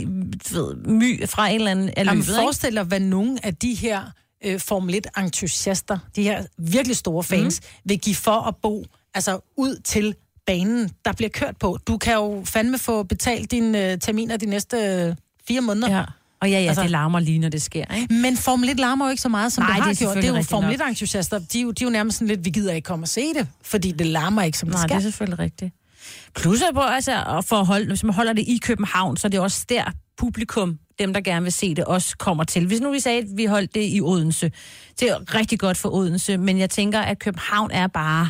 ved, my fra en eller anden af
Jamen,
løbet, ikke?
forestil dig, hvad nogle af de her øh, Formel 1-entusiaster, de her virkelig store fans, mm. vil give for at bo altså ud til banen, der bliver kørt på. Du kan jo fandme få betalt dine øh, terminer de næste øh, fire måneder.
Ja. Og ja, ja, altså, det larmer lige, når det sker, ikke?
Men Formel 1 larmer jo ikke så meget, som
Nej,
det har
det er
gjort. Det er jo
selvfølgelig
Formel
rigtigt nok.
1-entusiaster, de, er jo- de er jo nærmest sådan lidt, vi gider ikke komme og se det, fordi det larmer ikke, som det
Nej,
skal.
det er selvfølgelig rigtigt. Plus at, på, altså, og for at holde, hvis man holder det i København, så er det også der publikum, dem der gerne vil se det, også kommer til. Hvis nu vi sagde, at vi holdt det i Odense, det er rigtig godt for Odense, men jeg tænker, at København er bare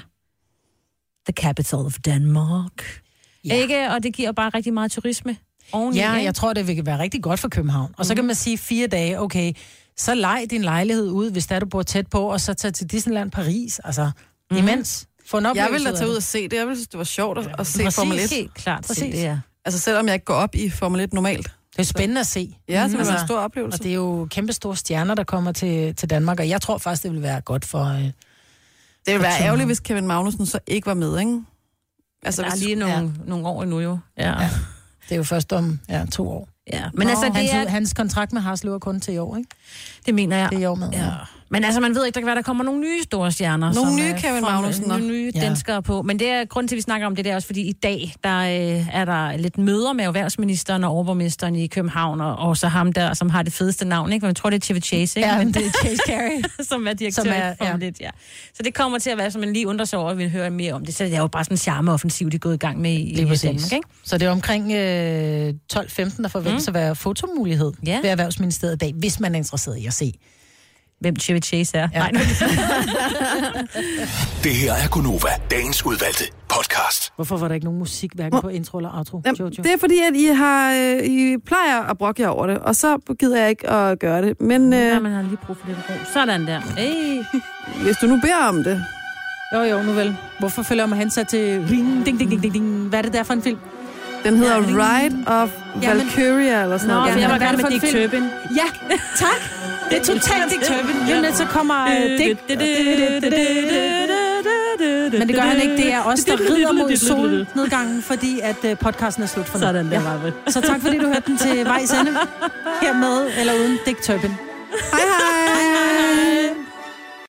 the capital of Denmark. Ja. Ikke? Og det giver bare rigtig meget turisme oveni.
Ja,
ikke? Mhm.
jeg tror, det vil være rigtig godt for København. Og så kan man sige fire dage, okay, så lej din lejlighed ud, hvis der du bor tæt på, og så tag til Disneyland Paris, altså
Mhm.
mm. imens. Få en
Jeg
oplevelse
vil da
ud af
tage
det.
ud og se det. Jeg vil synes, det var sjovt at, at se
Præcis.
Formel 1.
Helt klart til det, ja.
Altså selvom jeg ikke går op i Formel 1 normalt.
Det er spændende at se.
Ja, så det var
Altså,
en stor oplevelse.
Og det er jo kæmpe store stjerner, der kommer til, til Danmark, og jeg tror faktisk, det vil være godt for... Øh, det
Det ville være ærgerligt, hvis Kevin Magnussen så ikke var med, ikke?
Altså, der er
hvis-
lige nogle, ja. nogle år endnu jo. Ja. ja.
Det er jo først om ja, to år.
Ja, men altså, det
hans,
er-
ud- hans kontrakt med Harslev er kun til i år, ikke?
Det mener jeg.
Det er i år med. Ja.
Men altså, man ved ikke, der kan være, der kommer nogle nye store stjerner.
Nogle
som,
nye
øh,
Kevin
får
Magnussen,
Nogle nye
ja.
ja. danskere på. Men det er grunden til, at vi snakker om det, det er også fordi i dag, der øh, er der lidt møder med erhvervsministeren og overborgmesteren i København, og, og så ham der, som har det fedeste navn, ikke? For Jeg tror, det er Chevy Chase, ikke?
Ja, men det er Chase
(laughs)
Carey.
som er (laughs) direktør
Som
som
er-
er, ja. lidt, ja. Så det kommer til at være, som man lige undrer sig over, at vi hører mere om det. Så det er jo bare sådan en charmeoffensiv, de er gået i gang med i, i
Lige præcis.
Danmark, ikke?
Så det er omkring øh, 12-15, der forventes mm. at være fotomulighed ja. ved Erhvervsministeriet i dag, hvis man er interesseret i at se.
Hvem Chevy Chase er. Ja. Nej,
Det her er Gunova, dagens udvalgte podcast.
Hvorfor var der ikke nogen musik, hverken på intro eller outro, Jamen, Jojo?
Det er fordi, at I, har, øh, I plejer at brokke jer over det, og så gider jeg ikke at gøre det. Men
Ja,
øh,
man har lige brug for lidt ro. Sådan der. Hey.
hvis du nu beder om det...
Jo, jo, nu vel. Hvorfor følger man hen så til ring, ding, ding, ding, ding, ding? Hvad er det der for en film?
Den hedder Ride of Valkyria, eller sådan
Nå,
noget.
for jeg var gerne med
en
Dick
film?
Turpin. Ja, tak. Det er totalt Dick Turpin. Lige om lidt, så kommer øh, Dick. Men det gør han ikke. Det er os, der rider mod solnedgangen, fordi at øh, podcasten er slut for nu.
Sådan der,
Så tak, fordi du hørte den til vejs ende. Hermed eller uden Dick Turpin.
Hej, hej.